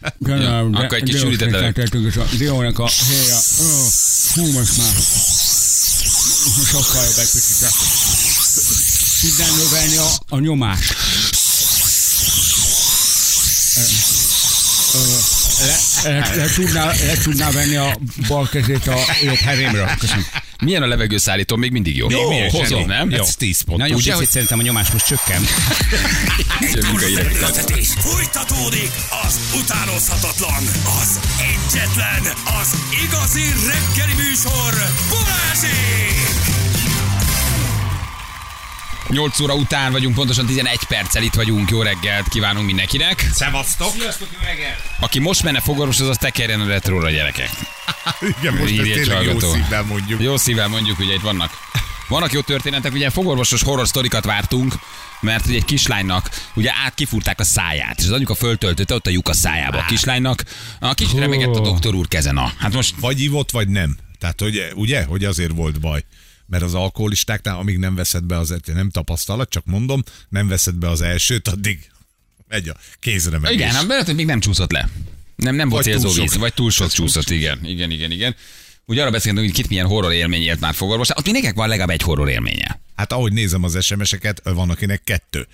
Speaker 2: Ja,
Speaker 4: tegnap, de-
Speaker 2: akkor egy kis
Speaker 4: de-
Speaker 2: sűrített levegő.
Speaker 4: tettük, és a diónak a héja, ö, hú, most már sokkal jobb egy picit. de Tudnám növelni a, a nyomást. Ö, Le, le, tudná, le tudná venni a bal kezét a jobb herémről. Köszönöm.
Speaker 2: Milyen a levegőszállító, még mindig jó.
Speaker 1: Jó,
Speaker 2: Milyen
Speaker 1: zseni.
Speaker 2: hozom, nem?
Speaker 1: Jó.
Speaker 2: Ez
Speaker 1: tíz pont.
Speaker 4: Nagyon
Speaker 2: Ugye,
Speaker 4: picit
Speaker 2: hogy-
Speaker 4: szerintem a nyomás most csökken.
Speaker 2: mindig a irányítás.
Speaker 7: Vezetés folytatódik, az utánozhatatlan, az egyetlen, az igazi reggeli műsor, Balázsék!
Speaker 2: 8 óra után vagyunk, pontosan 11 perccel itt vagyunk. Jó reggelt kívánunk mindenkinek.
Speaker 1: Szevasztok!
Speaker 2: Aki most menne fogorvos, az az tekerjen a retróra, gyerekek.
Speaker 1: Igen, most
Speaker 2: Így
Speaker 1: ezt
Speaker 2: egy
Speaker 1: tényleg jó
Speaker 2: hallgató.
Speaker 1: szívvel mondjuk.
Speaker 2: Jó szívvel mondjuk, ugye itt vannak. Vannak jó történetek, ugye fogorvosos horror sztorikat vártunk, mert ugye egy kislánynak ugye át kifúrták a száját, és az anyuka föltöltötte ott a lyuk a szájába a kislánynak. A kis remegett a doktor úr kezen a... Hát most
Speaker 1: Vagy ivott, vagy nem. Tehát, hogy, ugye, hogy azért volt baj. Mert az alkoholistáknál, amíg nem veszed be az, nem tapasztalat, csak mondom, nem veszed be az elsőt, addig megy a kézre meg.
Speaker 2: Igen, hát lehet, hogy még nem csúszott le. Nem, nem volt
Speaker 1: Vagy túl
Speaker 2: célzó
Speaker 1: sok.
Speaker 2: víz, vagy túl sok csúszott, igen. Igen, igen, igen. Ugye arra beszéltünk, hogy kit milyen horror élmény élt már fogorvos. Ott mindenkinek van legalább egy horror élménye.
Speaker 1: hát ahogy nézem az SMS-eket, van akinek kettő.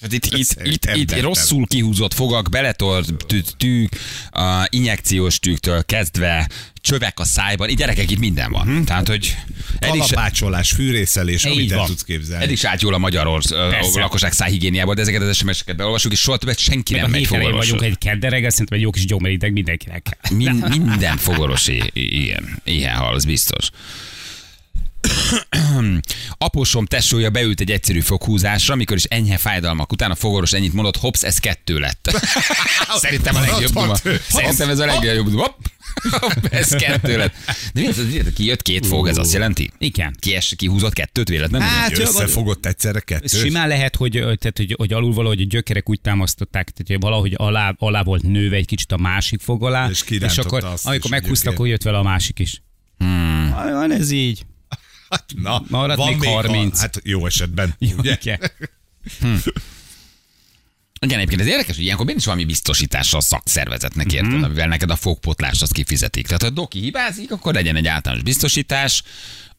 Speaker 2: Hát itt, itt, itt, itt
Speaker 1: Embertelen.
Speaker 2: rosszul kihúzott fogak, beletort tű, tű, a injekciós tűktől kezdve, csövek a szájban, itt gyerekek, itt minden van. Hm? Tehát, hogy eddig se,
Speaker 1: Kalapácsolás, fűrészelés, Mhm. amit
Speaker 2: Így
Speaker 1: el
Speaker 2: van.
Speaker 1: tudsz képzelni.
Speaker 2: Eddig se állt jól a magyar orsz, ö,
Speaker 4: Persze.
Speaker 2: a lakosság szájhigiéniából, de ezeket az SMS-eket beolvasjuk, és soha többet senki
Speaker 4: Meg
Speaker 2: nem
Speaker 4: a
Speaker 2: megy
Speaker 4: hét elején
Speaker 2: fogorvoshoz.
Speaker 4: vagyunk egy keddereggel, szerintem egy jó kis gyomerideg mindenkinek.
Speaker 2: Min, minden fogorvos i- i- ilyen, ilyen hal, az biztos. Apósom tesója beült egy egyszerű foghúzásra, amikor is enyhe fájdalmak után a fogorvos ennyit mondott, hops, ez kettő lett. Szerintem a legjobb duma. Szerintem ez a legjobb duma. Hopp, hopp, ez kettő lett. De mi az, hogy kijött két fog, ez azt jelenti?
Speaker 4: Igen.
Speaker 2: Kies, kihúzott kettőt véletlenül?
Speaker 4: Hát,
Speaker 1: Hogy összefogott egyszerre
Speaker 2: Hát,
Speaker 1: kettő.
Speaker 4: Ez simán lehet, hogy, ö, tehát, hogy, hogy alul valahogy a gyökerek úgy támasztották, tehát hogy valahogy alá, alá volt nőve egy kicsit a másik fog alá,
Speaker 1: És
Speaker 4: és
Speaker 1: kirántotta
Speaker 4: akkor
Speaker 1: azt
Speaker 4: amikor
Speaker 1: is a
Speaker 4: meghúztak,
Speaker 1: gyökér.
Speaker 4: akkor jött vele a másik is. Hmm. Van ez így.
Speaker 1: Hát, na,
Speaker 4: Maradt még 30.
Speaker 1: A, hát jó esetben.
Speaker 4: Jó,
Speaker 1: ugye?
Speaker 4: igen.
Speaker 2: Igen, egyébként ez érdekes, hogy ilyenkor nincs valami biztosítása a szakszervezetnek, érted, mm-hmm. amivel neked a fogpotlást azt kifizetik. Tehát ha doki hibázik, akkor legyen egy általános biztosítás,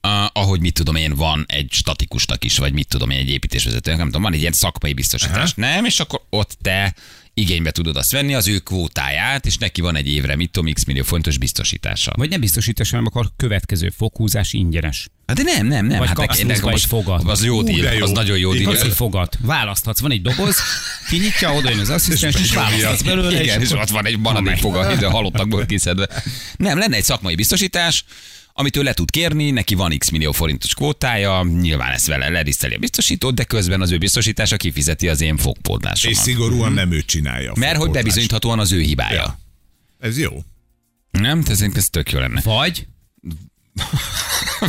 Speaker 2: Uh, ahogy mit tudom én, van egy statikusnak is, vagy mit tudom én, egy építésvezetőnek, nem tudom, van egy ilyen szakmai biztosítás, Aha. nem, és akkor ott te igénybe tudod azt venni az ő kvótáját, és neki van egy évre, mit tudom, x millió fontos biztosítása.
Speaker 4: Vagy nem biztosítás, hanem akkor a következő fokhúzás ingyenes.
Speaker 2: Hát de nem, nem, nem.
Speaker 4: Vagy
Speaker 2: hát
Speaker 4: kapsz
Speaker 2: neki- neki
Speaker 4: pluszba
Speaker 2: most-
Speaker 4: egy fogat.
Speaker 2: Az jó
Speaker 1: Ú, de
Speaker 2: díj,
Speaker 1: jó.
Speaker 2: az nagyon jó díj.
Speaker 4: Igazi fogat. Választhatsz, van egy doboz, kinyitja, oda jön az asszisztens, és választhatsz belőle,
Speaker 2: Igen, és
Speaker 4: akkor-
Speaker 2: ott van egy maradék foga, ide a halottakból kiszedve. Nem, lenne egy szakmai biztosítás, amit ő le tud kérni, neki van x millió forintos kvótája, nyilván ezt vele leriszteli a biztosítót, de közben az ő biztosítása kifizeti az én
Speaker 1: És
Speaker 2: fogpótlásomat.
Speaker 4: Mhm.
Speaker 1: szigorúan nem ő csinálja. a
Speaker 2: Mert hogy
Speaker 1: fogpotlást.
Speaker 2: bebizonyíthatóan az ő hibája.
Speaker 1: Ja. Ez jó.
Speaker 2: Nem? Tehát szerintem ez tök jó lenne.
Speaker 4: Vagy,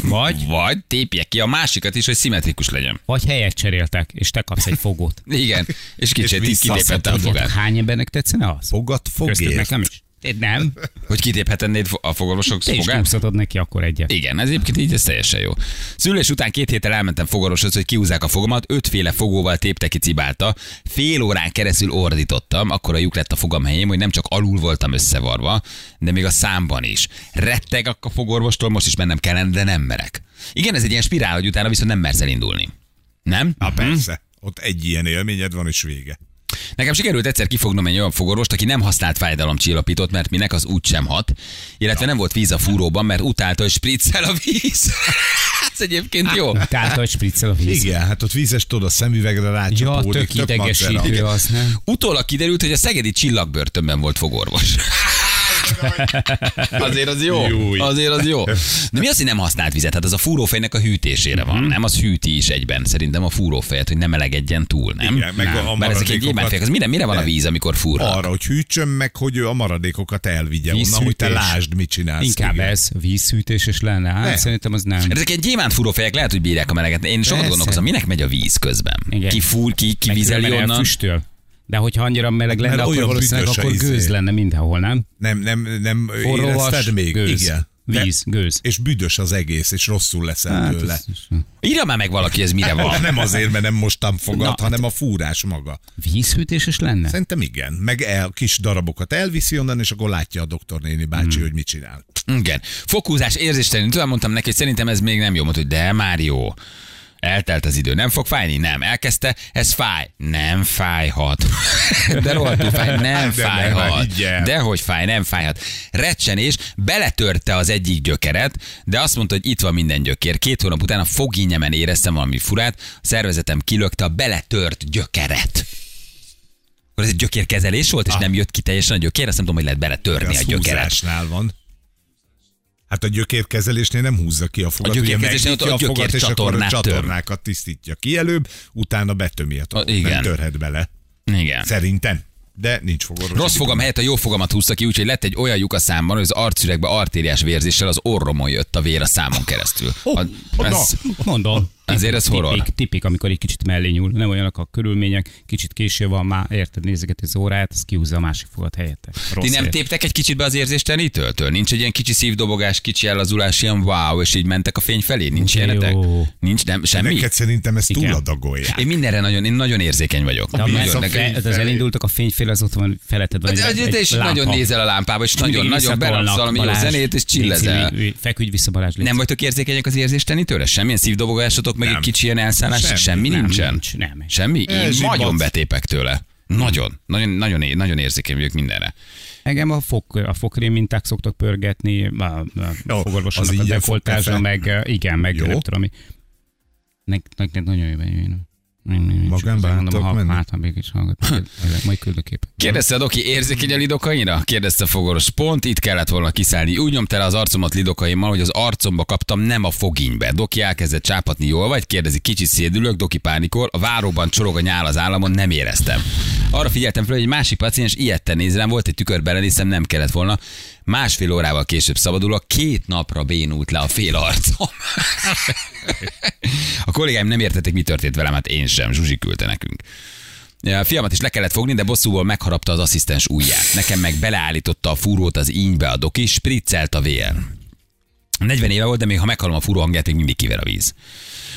Speaker 2: Vagy? Vagy tépje ki a másikat is, hogy szimmetrikus legyen.
Speaker 4: vagy helyet cseréltek, és te kapsz egy fogót.
Speaker 2: Igen, és kicsit így kitépette a
Speaker 4: Tudjátok,
Speaker 2: fogát.
Speaker 4: hány embernek tetszene az?
Speaker 1: Fogat
Speaker 4: Köztük
Speaker 1: fogért.
Speaker 4: nekem is. Én Nem,
Speaker 2: Hogy kitéphetennéd a fogorvosok
Speaker 4: te is
Speaker 2: fogát?
Speaker 4: kúszhatod neki akkor egyet.
Speaker 2: Igen, ez egyébként így ez teljesen jó. Szülés után két héttel elmentem fogorvoshoz, hogy kiúzzák a fogamat, ötféle fogóval tépte ki cibálta, fél órán keresztül ordítottam, akkor a lyuk lett a fogam helyén, hogy nem csak alul voltam összevarva, de még a számban is. Retteg a fogorvostól, most is mennem kellene, de nem merek. Igen, ez egy ilyen spirál, hogy utána viszont nem mersz elindulni. Nem?
Speaker 4: Mhm.
Speaker 1: Na persze. Ott egy ilyen élményed van, és vége.
Speaker 2: Nekem sikerült egyszer kifognom egy olyan fogorvost, aki nem használt fájdalomcsillapítót, mert minek az úgy sem hat, illetve nem volt víz a fúróban, mert utálta, hogy spriccel a víz. Ez egyébként jó.
Speaker 4: Tehát, hogy spriccel a víz.
Speaker 1: Igen, hát ott vízes tudod, a szemüvegre
Speaker 4: Ja,
Speaker 1: rácsapódik.
Speaker 4: tök idegesítő
Speaker 1: macera.
Speaker 4: az, nem?
Speaker 2: Utólag kiderült, hogy a szegedi csillagbörtönben volt fogorvos. Azért az jó.
Speaker 1: Júj.
Speaker 2: Azért az jó. De mi az, hogy nem használt vizet? Hát az a fúrófejnek a hűtésére van, nem? Az hűti is egyben. Szerintem a fúrófejet, hogy nem melegedjen túl, nem?
Speaker 1: Igen, meg a- a
Speaker 2: Bár ezek egy
Speaker 1: maradékokat-
Speaker 2: gyémántfejek. Az mire, mire van a víz, amikor fúrnak?
Speaker 1: Arra, hogy hűtsön meg, hogy ő a maradékokat elvigye onnan, hogy te
Speaker 4: Vízhűtés.
Speaker 1: lásd, mit csinálsz.
Speaker 4: Inkább
Speaker 1: Igen.
Speaker 4: ez vízhűtés is lenne. Hát
Speaker 1: Ne.
Speaker 4: szerintem az nem.
Speaker 2: Mert ezek egy gyémánt fúrófejek lehet, hogy bírják a meleget. Én sokat
Speaker 4: Persze.
Speaker 2: gondolkozom, minek megy a víz közben?
Speaker 4: Igen.
Speaker 2: Ki fúr, ki, ki
Speaker 4: Meg
Speaker 2: vizeli
Speaker 4: különben
Speaker 2: onnan?
Speaker 4: elfüstöl. De hogyha annyira meleg lenne,
Speaker 1: Mert
Speaker 4: akkor
Speaker 1: olyan
Speaker 4: valószínűleg
Speaker 1: büdös a
Speaker 4: akkor
Speaker 1: izé.
Speaker 4: gőz lenne mindenhol, nem?
Speaker 1: Nem, nem, nem
Speaker 4: Forrovas,
Speaker 1: érezted még?
Speaker 4: gőz,
Speaker 1: Igen. De-
Speaker 4: víz, gőz.
Speaker 1: És büdös az egész, és rosszul leszel
Speaker 4: Hát,
Speaker 1: tőle.
Speaker 4: ez is-
Speaker 2: Írja már meg valaki, ez mire van.
Speaker 1: Nem azért, mert nem mostan fogad,
Speaker 4: Na,
Speaker 1: hanem a fúrás maga.
Speaker 4: Vízhűtés is lenne?
Speaker 1: Szerintem igen. Meg el, kis darabokat elviszi onnan, és akkor látja a doktornéni bácsi, hmm. hogy mit csinál.
Speaker 2: Igen. Fokúzás érzéstelen. Tudom, mondtam neki, hogy szerintem ez még nem jó. Mondta, hogy de már jó. Eltelt az idő. Nem fog fájni? Nem. Elkezdte? Ez fáj. Nem fájhat. De rohadtul fáj. Nem
Speaker 1: De ne, ne,
Speaker 2: fájhat.
Speaker 1: igen.
Speaker 2: De hogy fáj, nem fájhat. Recsenés, beletörte az egyik gyökeret, de azt mondta, hogy itt van minden gyökér. Két hónap után a fogínyemen éreztem valami furát, a szervezetem kilökte a beletört gyökeret. Akkor ez egy gyökérkezelés volt, és
Speaker 1: Ah.
Speaker 2: nem jött ki teljesen a gyökér, azt nem tudom, hogy lehet beletörni a
Speaker 1: Az
Speaker 2: gyökeret.
Speaker 1: húzásnál van. Hát a gyökérkezelésnél nem húzza ki a fogat,
Speaker 2: A
Speaker 1: ugye
Speaker 2: gyökérkezelésnél
Speaker 1: megnyitja a,
Speaker 2: ott a
Speaker 1: fogat, és akkor a
Speaker 2: gyökércsatornát tör.
Speaker 1: csatornákat tisztítja ki előbb, utána betömi a
Speaker 2: A,
Speaker 1: tagot.
Speaker 2: igen.
Speaker 1: Nem törhet bele.
Speaker 2: Igen.
Speaker 1: Szerintem. De nincs fogorvos.
Speaker 2: Rossz fogam helyett a jó fogamat húzta ki, úgyhogy lett egy olyan lyuk a számban, hogy az arcüregbe artériás vérzéssel az orromon jött a vér a számon keresztül. A, ez,
Speaker 4: Hát Mondom.
Speaker 2: Azért ez horror.
Speaker 4: Tipik, tipik, amikor egy kicsit mellé nyúl. Nem olyanok a körülmények, kicsit késő van már, érted, nézegeti az órát, az kihúzza a másik fogat helyette. Rossz
Speaker 2: ti nem
Speaker 4: helyet.
Speaker 2: téptek egy kicsit be az érzéstelenítőtől? Nincs egy ilyen kicsi szívdobogás, kicsi ellazulás, ilyen wow, és így mentek a fény felé? Nincs
Speaker 4: De
Speaker 2: ilyenetek?
Speaker 4: jó.
Speaker 2: Nincs, nem, semmi?
Speaker 1: Neked szerintem ezt
Speaker 4: Igen.
Speaker 1: túladagolják.
Speaker 2: Én mindenre nagyon, én nagyon érzékeny vagyok.
Speaker 4: De ha
Speaker 2: Nagyon,
Speaker 4: mensz a
Speaker 2: nekem-
Speaker 4: fe, az elindultak a fényfél, az ott van, feleted van.
Speaker 2: Hát,
Speaker 4: egy-
Speaker 2: hogy
Speaker 4: egy
Speaker 2: Te is
Speaker 4: lámpa.
Speaker 2: nagyon nézel a lámpába, és
Speaker 4: Mindig
Speaker 2: nagyon-nagyon
Speaker 4: visszatolnak,
Speaker 2: beraksz valami jó
Speaker 4: Balázs,
Speaker 2: zenét, és
Speaker 4: légy
Speaker 2: csillezel.
Speaker 4: szívű, Feküdj vissza, Balázs. légy
Speaker 2: Nem vagytok érzékenyek az érzéstelenítőre? Semmilyen szívdobogásotok, meg egy kicsi ilyen elszállás, semmi,
Speaker 1: Semmi.
Speaker 4: Nem,
Speaker 2: nincsen?
Speaker 4: nincs, nem.
Speaker 2: Semmi? Én
Speaker 1: zsibbac.
Speaker 2: nagyon betépek tőle. Nagyon, nagyon, nagyon, é- nagyon érzékeny vagyok mindenre.
Speaker 4: Engem a, fok, a fokrém minták szoktak pörgetni, a, a
Speaker 1: Jó,
Speaker 4: fogorvosomnak
Speaker 1: az
Speaker 4: a
Speaker 1: ingyen
Speaker 4: dekoltázsa,
Speaker 1: fogkefe.
Speaker 4: meg ö, igen, meg
Speaker 1: Jó.
Speaker 4: nem tudom, ami... Nek, nek, nek nagyon jó bejön. Nem, nem, nincs
Speaker 1: Magánba
Speaker 4: közben,
Speaker 1: álltok
Speaker 4: ha,
Speaker 1: menni?
Speaker 4: Hát, ha mégis hallgatok, majd küldök képet.
Speaker 2: Kérdezte a doki, érzékeny a lidokainra? Kérdezte Fogoros, pont itt kellett volna kiszállni. Úgy nyomta el az arcomat lidokaimmal, hogy az arcomba kaptam, nem a fogénybe. Doki elkezdett csápatni, jól vagy? Kérdezi, kicsit szédülök, Doki pánikol, a váróban csorog a nyál az államon, nem éreztem. Arra figyeltem fel, hogy egy másik paciens ilyetten néz rám, volt egy tükör belenéztem, nem kellett volna. Másfél órával később szabadulok, két napra bénult le a fél arcom. a kollégáim nem értették, mi történt velem, hát én sem, Zsuzsi küldte nekünk. A fiamat is le kellett fogni, de bosszúból megharapta az asszisztens ujját. Nekem meg beleállította a fúrót az ínybe a doki, spriccelt a vér. 40 éve volt, de még ha meghalom a fúró hangját, még mindig kiver a víz.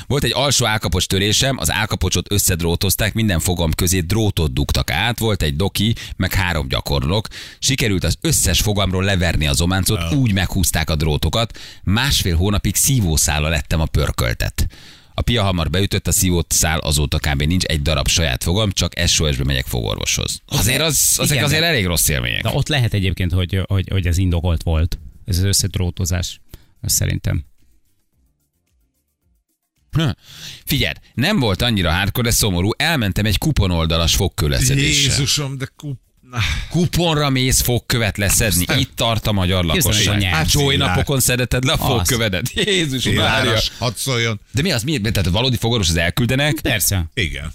Speaker 2: Volt egy alsó állkapocs törésem, az állkapocsot összedrótozták, minden fogam közé drótot dugtak át, volt egy doki, meg három gyakornok. Sikerült az összes fogamról leverni az ománcot, úgy meghúzták a drótokat, másfél hónapig szívószála lettem a pörköltet. A pia hamar beütött, a szívót szál azóta kb. nincs egy darab saját fogam, csak SOS-be megyek fogorvoshoz. Azért az, azek
Speaker 4: e- Igen,
Speaker 2: azért
Speaker 4: de-
Speaker 2: elég rossz élmények.
Speaker 4: De ott lehet egyébként, hogy, hogy, hogy ez indokolt volt. Ez az összedrótozás. Ez Szerintem.
Speaker 2: Hm. Figyeld, nem volt annyira hardcore, de szomorú. Elmentem egy kuponoldalas fogköleszedéssel.
Speaker 1: Jézusom, de kup...
Speaker 2: Kuponra mész fogkövet leszedni. Itt tart a magyar
Speaker 4: Kézzel
Speaker 2: lakosság.
Speaker 4: is a nyelv.
Speaker 2: Hát Joy napokon szedeted le a fogkövedet. Jézus Mária.
Speaker 1: Téláras, hadd szóljon.
Speaker 2: De mi az? Mi? Tehát a valódi fogorvoshoz elküldenek?
Speaker 4: Persze.
Speaker 1: Igen.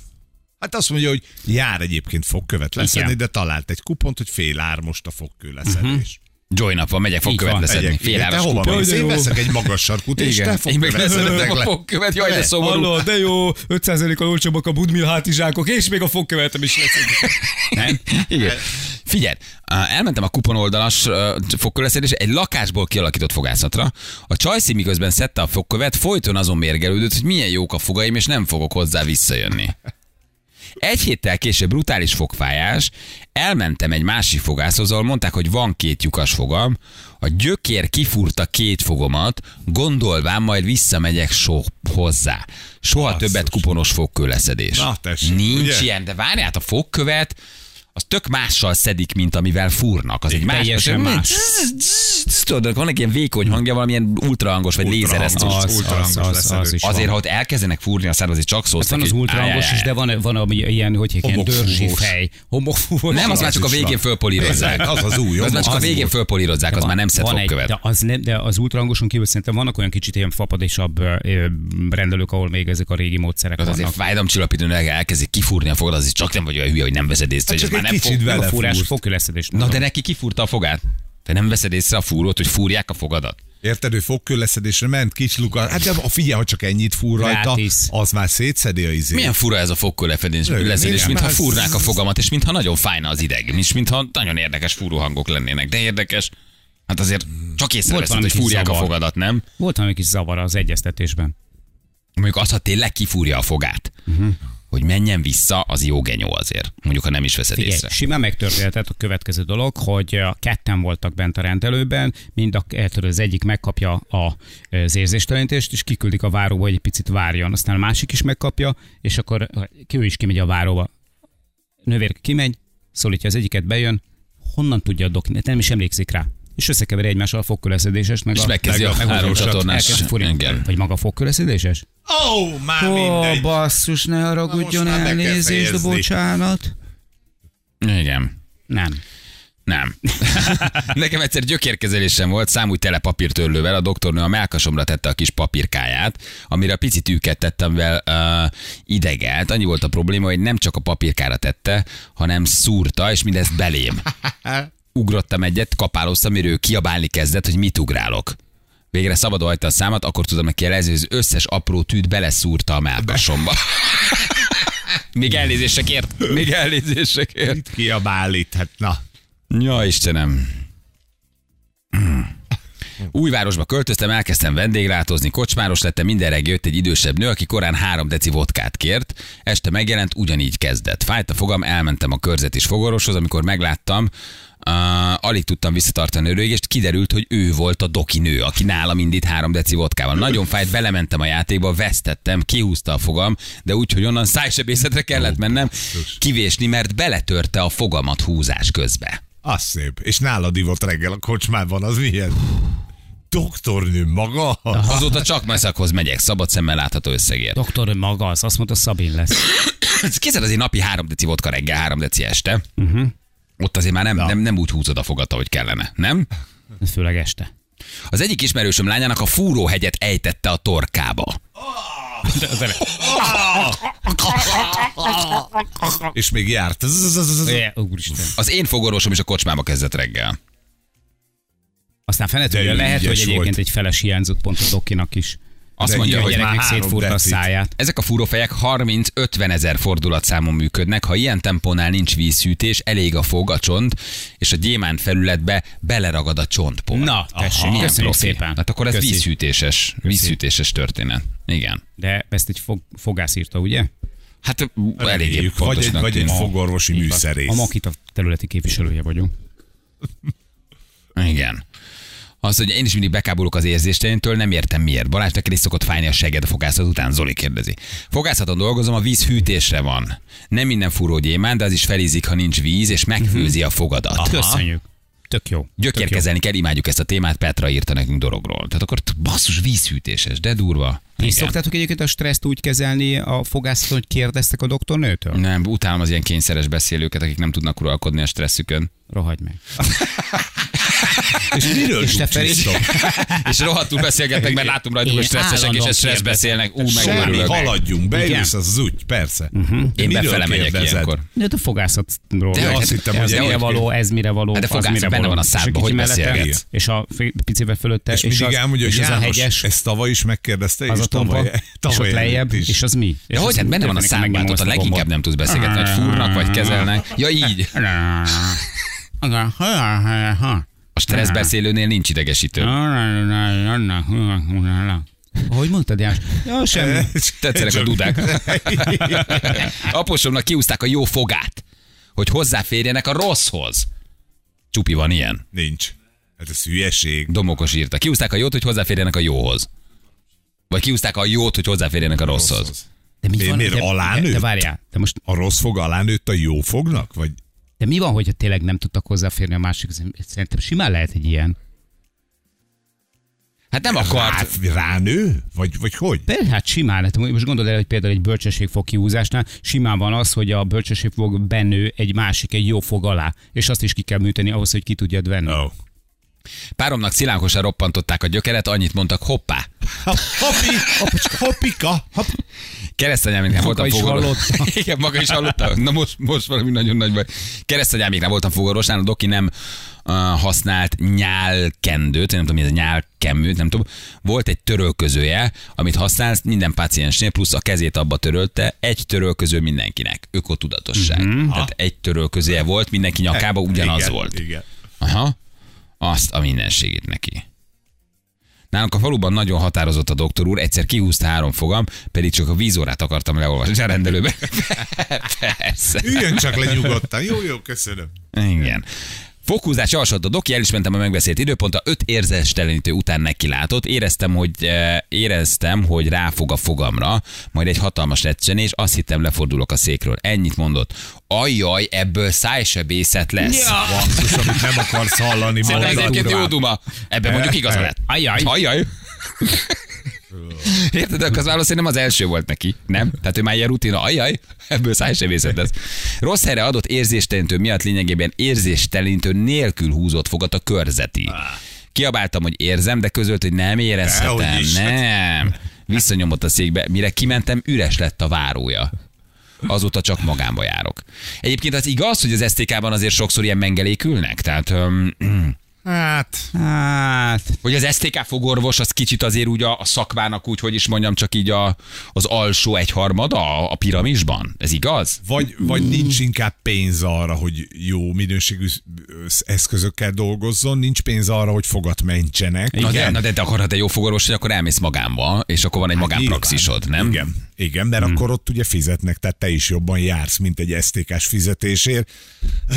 Speaker 1: Hát azt mondja, hogy jár egyébként fogkövet leszedni,
Speaker 4: Igen.
Speaker 1: de talált egy kupont, hogy fél ár most a fogkő leszedés.
Speaker 2: Joy nap van, megyek fogkövet
Speaker 4: van,
Speaker 2: leszedni.
Speaker 1: Megyek.
Speaker 2: Fél
Speaker 1: Igen, te
Speaker 2: áras
Speaker 1: hova
Speaker 2: kupon.
Speaker 1: mész? Én veszek egy magas sarkút, és te
Speaker 2: Igen, én meg
Speaker 1: fogkövet
Speaker 2: leszedek
Speaker 1: leszedek
Speaker 2: a
Speaker 1: le.
Speaker 2: fogkövet. Jaj, de szomorú.
Speaker 4: de jó, 5%-kal olcsóbbak a budmil hátizsákok, és még a fogkövetem is lesz.
Speaker 2: Nem? Igen. Figyelj, á, elmentem a kuponoldalas ö, fogköleszedésre egy lakásból kialakított fogászatra. A csajszi miközben szedte a fogkövet, folyton azon mérgelődött, hogy milyen jók a fogaim, és nem fogok hozzá visszajönni. Egy héttel később brutális fogfájás, elmentem egy másik fogászhoz, ahol mondták, hogy van két lyukas fogam, a gyökér kifúrta két fogomat, gondolván majd visszamegyek so hozzá. Soha
Speaker 1: Basszus.
Speaker 2: többet kuponos fogkőleszedés.
Speaker 1: Na, tessék,
Speaker 2: Nincs
Speaker 1: ugye?
Speaker 2: ilyen, de várjál, a fogkövet, az tök mással szedik, mint amivel fúrnak. Az egy más.
Speaker 4: Teljesen
Speaker 2: az-
Speaker 4: más.
Speaker 2: Tudod, van egy ilyen vékony hangja, valamilyen ultrahangos vagy lézeresztő.
Speaker 1: Az,
Speaker 4: Ah, Az-
Speaker 1: ultrahangos
Speaker 4: az- az-
Speaker 1: leszedő.
Speaker 4: az is.
Speaker 2: Azért, ha ott elkezdenek fúrni a szárad, azért csak szó
Speaker 4: Hát van az ultrahangos is, de van, van ami ilyen, hogy egy ilyen
Speaker 1: Homokfúvós.
Speaker 4: dörzsi fej. Homokfúvós.
Speaker 2: Nem, az
Speaker 4: Igen.
Speaker 2: már csak a
Speaker 1: is
Speaker 2: végén
Speaker 1: van.
Speaker 2: fölpolírozzák.
Speaker 1: Ez- az az új,
Speaker 2: Az már csak a
Speaker 1: az
Speaker 2: végén
Speaker 1: volt.
Speaker 2: fölpolírozzák, az már nem szed
Speaker 4: van egy-
Speaker 2: fogkövet.
Speaker 4: De az, nem, de az ultrahangoson kívül szerintem vannak olyan kicsit ilyen fapadosabb ö, ö, rendelők, ahol még ezek a régi módszerek
Speaker 2: Az azért
Speaker 4: vannak.
Speaker 2: fájdalomcsillapítónak elkezdik kifúrni a fogad, azért csak nem vagy olyan hülye, hogy nem veszed észre, hogy
Speaker 1: Hát
Speaker 2: ez
Speaker 1: csak
Speaker 2: már
Speaker 1: egy
Speaker 2: nem
Speaker 1: kicsit
Speaker 2: fog.
Speaker 1: be-
Speaker 4: Meg a fúrás
Speaker 1: Belefúrt.
Speaker 4: fogküleszedés.
Speaker 2: Na de neki kifúrta a fogát. Te nem veszed észre a fúrót, hogy fúrják a fogadat.
Speaker 1: Érted, ő fogkőleszedésre ment, kis luka. Hát de a figyelj, ha csak ennyit fúr rajta,
Speaker 4: Rátisz.
Speaker 1: az már szétszedi a izét.
Speaker 2: Milyen fura ez a fogkölefedés,
Speaker 1: Rögtön,
Speaker 2: leszedés,
Speaker 1: igen.
Speaker 2: mintha
Speaker 1: Már-
Speaker 2: fúrnák a fogamat, és mintha nagyon fájna az ideg, és mintha nagyon érdekes fúróhangok lennének. De érdekes, hát azért csak észreveszed,
Speaker 4: valami
Speaker 2: hogy
Speaker 4: kis
Speaker 2: fúrják a
Speaker 4: zavar.
Speaker 2: fogadat, nem?
Speaker 4: Volt valami kis zavar az egyeztetésben.
Speaker 2: Mondjuk az, ha tényleg kifúrja a fogát. Uh-huh. hogy menjen vissza, az jó genyó azért. Mondjuk, ha nem is veszed
Speaker 4: Figyelj,
Speaker 2: észre.
Speaker 4: simán megtörténhetett a következő dolog, hogy a ketten voltak bent a rendelőben, mind a, eh, tudod, az egyik megkapja a, eh, az érzéstelenítést, és kiküldik a váróba, hogy egy picit várjon. Aztán a másik is megkapja, és akkor ki- ő is kimegy a váróba. Nővér kimegy, szólítja az egyiket, bejön, honnan tudja a doki, nem is emlékszik rá. És összekeveri egymással a fogköleszedéses, meg
Speaker 2: És
Speaker 4: a,
Speaker 2: megkezdi
Speaker 4: meg
Speaker 2: a
Speaker 4: meg
Speaker 2: három
Speaker 4: orvosat.
Speaker 2: csatornás.
Speaker 4: Elkezd fúrni.
Speaker 2: Igen.
Speaker 4: Vagy maga a fogköleszedéses?
Speaker 1: Ó, oh, már
Speaker 4: Ó,
Speaker 1: mindegy.
Speaker 4: basszus, ne haragudjon,
Speaker 1: Na most már be kell
Speaker 4: elnézést,
Speaker 1: fejezni.
Speaker 4: bocsánat.
Speaker 2: Igen.
Speaker 4: Nem.
Speaker 2: Nem. Nekem egyszer gyökérkezelésem volt, számúgy tele papírtörlővel, a doktornő a melkasomra tette a kis papírkáját, amire a pici tűket tettem vel uh, idegelt. Annyi volt a probléma, hogy nem csak a papírkára tette, hanem szúrta, és mindezt belém. Ugrottam egyet, kapálóztam, mire ő kiabálni kezdett, hogy mit ugrálok. Végre szabadon hagyta a számat, akkor tudom neki jelezni, hogy az összes apró tűt beleszúrta a melkasomba. Még elnézésekért, még elnézésekért.
Speaker 1: Mit kiabál itt? Hát na.
Speaker 2: Ja, Istenem. Újvárosba költöztem, elkezdtem vendéglátozni, kocsmáros lettem, mindenre jött egy idősebb nő, aki korán három deci vodkát kért. Este megjelent, ugyanígy kezdett. Fájt a fogam, elmentem a körzet is fogorvoshoz, amikor megláttam, Uh, alig tudtam visszatartani a rögést, kiderült, hogy ő volt a doki nő, aki nálam indít három deci vodkával. Nagyon fájt, belementem a játékba, vesztettem, kihúzta a fogam, de úgy, hogy onnan szájsebészetre kellett mennem kivésni, mert beletörte a fogamat húzás közbe.
Speaker 1: Az szép. És nálad ivott reggel a kocsmában, az milyen? Doktornő maga?
Speaker 2: Azóta csak meszakhoz megyek, szabad szemmel látható összegért.
Speaker 4: Doktor maga az, azt mondta, Szabin lesz.
Speaker 2: Kézzel azért napi három deci vodka reggel, három deci este. Uh-huh.
Speaker 4: Mhm.
Speaker 2: Ott azért már nem, nem, nem úgy húzod a fogat, ahogy kellene, nem?
Speaker 4: Főleg este.
Speaker 2: Az egyik ismerősöm lányának a fúróhegyet ejtette a torkába.
Speaker 1: És még járt.
Speaker 4: É, úristen.
Speaker 2: Az én fogorvosom is a kocsmába kezdett reggel.
Speaker 4: Aztán fenet,
Speaker 1: De
Speaker 4: hogy
Speaker 1: ő
Speaker 4: lehet,
Speaker 1: ügyes
Speaker 4: hogy egyébként
Speaker 1: volt.
Speaker 4: egy feles hiányzott pont a dokinak is.
Speaker 2: Azt
Speaker 1: De
Speaker 2: mondja,
Speaker 1: igen,
Speaker 2: hogy
Speaker 1: gyerek.
Speaker 4: gyereknek
Speaker 1: már három
Speaker 4: szétfúrta a
Speaker 1: decit.
Speaker 4: száját.
Speaker 2: ezek a fúrófejek 30-50 ezer fordulatszámon működnek, ha ilyen tempónál nincs vízhűtés, elég a fog, a csont, és a gyémánt felületbe beleragad a csontpor.
Speaker 4: Na, tessék,
Speaker 2: Milyen
Speaker 4: köszönjük
Speaker 2: profi.
Speaker 4: szépen.
Speaker 2: Hát akkor ez
Speaker 4: Köszi.
Speaker 2: vízhűtéses, vízhűtéses történet. Igen.
Speaker 4: De ezt egy fog, fogász írta, ugye?
Speaker 2: Hát eléggé
Speaker 1: Reméljük. Vagy egy,
Speaker 2: pontosnak
Speaker 1: vagy egy
Speaker 2: tűnik.
Speaker 1: fogorvosi
Speaker 4: Így van.
Speaker 1: műszerész.
Speaker 4: A Makita területi képviselője vagyunk.
Speaker 2: Igen. Az, hogy én is mindig bekábulok az érzéstelenitől, nem értem miért. Balázs, neked is szokott fájni a seged a fogászat után, Zoli kérdezi. Fogászaton dolgozom, a víz hűtésre van. Nem minden fúró gyémánt, de az is felízik, ha nincs víz, és megfőzi a fogadat.
Speaker 4: Köszönjük. Tök jó. Tök jó.
Speaker 2: Gyökérkezelni kell, imádjuk ezt a témát, Petra írta nekünk dologról. Tehát akkor t- basszus vízhűtéses, de durva.
Speaker 4: És
Speaker 2: Igen.
Speaker 4: szoktátok egyébként a stresszt úgy kezelni a fogászaton, hogy kérdeztek a doktornőtől?
Speaker 2: Nem, utálom az ilyen kényszeres beszélőket, akik nem tudnak uralkodni a stresszükön.
Speaker 4: Rohagy meg.
Speaker 1: És miről
Speaker 4: És te Feri?
Speaker 1: csúcsíztok?
Speaker 2: és rohadtul beszélgetnek, mert látom rajtuk,
Speaker 4: Én
Speaker 2: hogy stresszesek, és
Speaker 4: állandóan
Speaker 2: stressz
Speaker 4: kérdezem.
Speaker 2: beszélnek. Ú,
Speaker 1: Semmi,
Speaker 2: megőrülök.
Speaker 1: haladjunk, beülsz,
Speaker 4: Igen. Mhm.
Speaker 1: az az úgy, persze.
Speaker 2: Én
Speaker 1: Miről
Speaker 2: befele megyek
Speaker 1: kérdezed?
Speaker 2: ilyenkor.
Speaker 4: De ott a fogászatról.
Speaker 2: De
Speaker 4: van.
Speaker 2: azt hittem,
Speaker 4: ez
Speaker 2: hogy
Speaker 4: mire
Speaker 2: ilyen-
Speaker 4: e való, ez mire való,
Speaker 2: Hát de
Speaker 4: az
Speaker 2: fogászat
Speaker 4: mire
Speaker 2: benne
Speaker 4: való.
Speaker 2: van a
Speaker 4: És
Speaker 2: szádban,
Speaker 4: kicsi
Speaker 2: hogy
Speaker 4: mellette,
Speaker 2: beszélgetsz?
Speaker 4: És a fi- picivel fölötte,
Speaker 1: És, mindig
Speaker 4: az,
Speaker 1: elmondja, hogy
Speaker 4: és az a
Speaker 1: János,
Speaker 4: hegyes.
Speaker 1: ezt tavaly is megkérdezte,
Speaker 4: az
Speaker 1: és
Speaker 4: a tompa,
Speaker 1: tavaly,
Speaker 4: és ott
Speaker 1: tavaly
Speaker 4: lejjebb,
Speaker 1: előtt is.
Speaker 4: és az mi?
Speaker 2: De hogy? Hát benne van a számban, ott a leginkább nem tudsz beszélgetni, hogy fúrnak vagy kezelnek. Ja így. A stressz beszélőnél nincs
Speaker 4: Ah.
Speaker 2: idegesítő.
Speaker 4: Hogy mondtad, János? Ja, semmi.
Speaker 2: Tetszenek a dudák. Aposomnak kiúzták a jó fogát, hogy hozzáférjenek a rosszhoz. Csupi van ilyen.
Speaker 1: Nincs. Hát ez hülyeség.
Speaker 2: Domokos írta. Kiúzták a jót, hogy hozzáférjenek a jóhoz. Vagy kiúzták a jót, hogy hozzáférjenek a rosszhoz.
Speaker 4: De mi
Speaker 1: Miért-
Speaker 4: van,
Speaker 1: miért
Speaker 4: de,
Speaker 1: alánőtt?
Speaker 4: De várjál, de most,
Speaker 1: A rossz fog alá nőtt a jó fognak? Vagy
Speaker 4: de mi van, hogyha tényleg nem tudtak hozzáférni a másik? Szerintem simán lehet egy ilyen.
Speaker 2: Hát nem akart.
Speaker 1: rá, ránő? Vagy, vagy hogy?
Speaker 4: De hát simán, hát most gondolod el, hogy például egy bölcsességfog kihúzásnál simán van az, hogy a bölcsességfog benő egy másik, egy jó fog alá, és azt is ki kell műteni ahhoz, hogy ki tudjad venni.
Speaker 2: Oh.
Speaker 1: No.
Speaker 2: Páromnak szilánkosan roppantották a gyökeret, annyit mondtak, hoppá.
Speaker 1: Hopi, hopicska, hopika, hop.
Speaker 2: Keresztanyámiknál
Speaker 4: Maga
Speaker 2: voltam
Speaker 4: is
Speaker 2: fogorvos.
Speaker 4: hallotta.
Speaker 2: Igen, maga is hallotta. Na most, most valami nagyon nagy baj. Keresztanyámiknál voltam fogorvosnál, a doki nem uh, használt nyálkendőt, nem tudom, mi ez a nyálkemű, nem tudom. Volt egy törölközője, amit használsz minden páciensnél, plusz a kezét abba törölte, egy törölköző mindenkinek. Ökotudatosság.
Speaker 4: Mhm.
Speaker 2: Mm-hmm. Tehát egy törölközője volt, mindenki nyakába ugyanaz
Speaker 1: igen,
Speaker 2: volt.
Speaker 1: Igen.
Speaker 2: Aha. Azt a mindenségét neki. Nálunk a faluban nagyon határozott a doktor úr, egyszer kihúzta három fogam, pedig csak a vízórát akartam leolvasni a rendelőbe. Persze.
Speaker 1: Üljön csak le nyugodtan. Jó, jó, köszönöm.
Speaker 2: Igen. Fokhúzás alsót a doki, el is mentem a megbeszélt időpontra, öt érzéstelenítő után neki látott, éreztem, hogy, eh, éreztem, hogy ráfog a fogamra, majd egy hatalmas lecsenés, azt hittem lefordulok a székről. Ennyit mondott. Ajjaj, ebből szájsebészet lesz. Ja.
Speaker 1: Basszus, amit nem akarsz hallani.
Speaker 4: Szóval
Speaker 2: Ez
Speaker 1: Balázs.
Speaker 2: egyébként jó duma. Ebben mondjuk
Speaker 1: Eh,
Speaker 2: igaza lett.
Speaker 4: Ajjaj.
Speaker 2: Ajjaj. Érted, akkor az valószínűleg nem az első volt neki, nem? Tehát ő már ilyen rutina, ajaj, ebből szájsevészet lesz. Rossz helyre adott érzéstelenítő miatt lényegében érzéstelenítő nélkül húzott fogat a körzeti.
Speaker 1: Ah.
Speaker 2: Kiabáltam, hogy érzem, de közölt, hogy nem érezhetem,
Speaker 1: Dehogy is, hát.
Speaker 2: nem. Visszanyomott a székbe, mire kimentem, üres lett a várója. Azóta csak magámba járok. Egyébként az igaz, hogy az STK-ban azért sokszor ilyen mengelékülnek, tehát öm,
Speaker 1: Hát,
Speaker 4: Hát,
Speaker 2: hogy az STK fogorvos az kicsit azért úgy a, a szakmának úgy, hogy is mondjam, csak így a, az alsó egyharmada a, a piramisban. Ez igaz?
Speaker 1: vagy, vagy nincs inkább pénz arra, hogy jó minőségű sz- eszközökkel dolgozzon, nincs pénz arra, hogy fogat mentsenek.
Speaker 2: Na de, na de te akarhat egy jó fogorvos, hogy akkor elmész magámba, és akkor van egy magánpraxisod, nem?
Speaker 1: Igen, igen mert hmm. akkor ott ugye fizetnek, tehát te is jobban jársz, mint egy STK-s fizetésért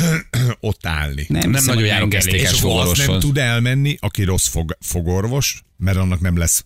Speaker 1: ott állni.
Speaker 4: nem,
Speaker 2: Nem nagyon járok
Speaker 1: És
Speaker 2: STK-s
Speaker 1: akkor az nem
Speaker 2: fogorvoshoz.
Speaker 1: tud elmenni, aki rossz fog, fogorvos, mert annak nem lesz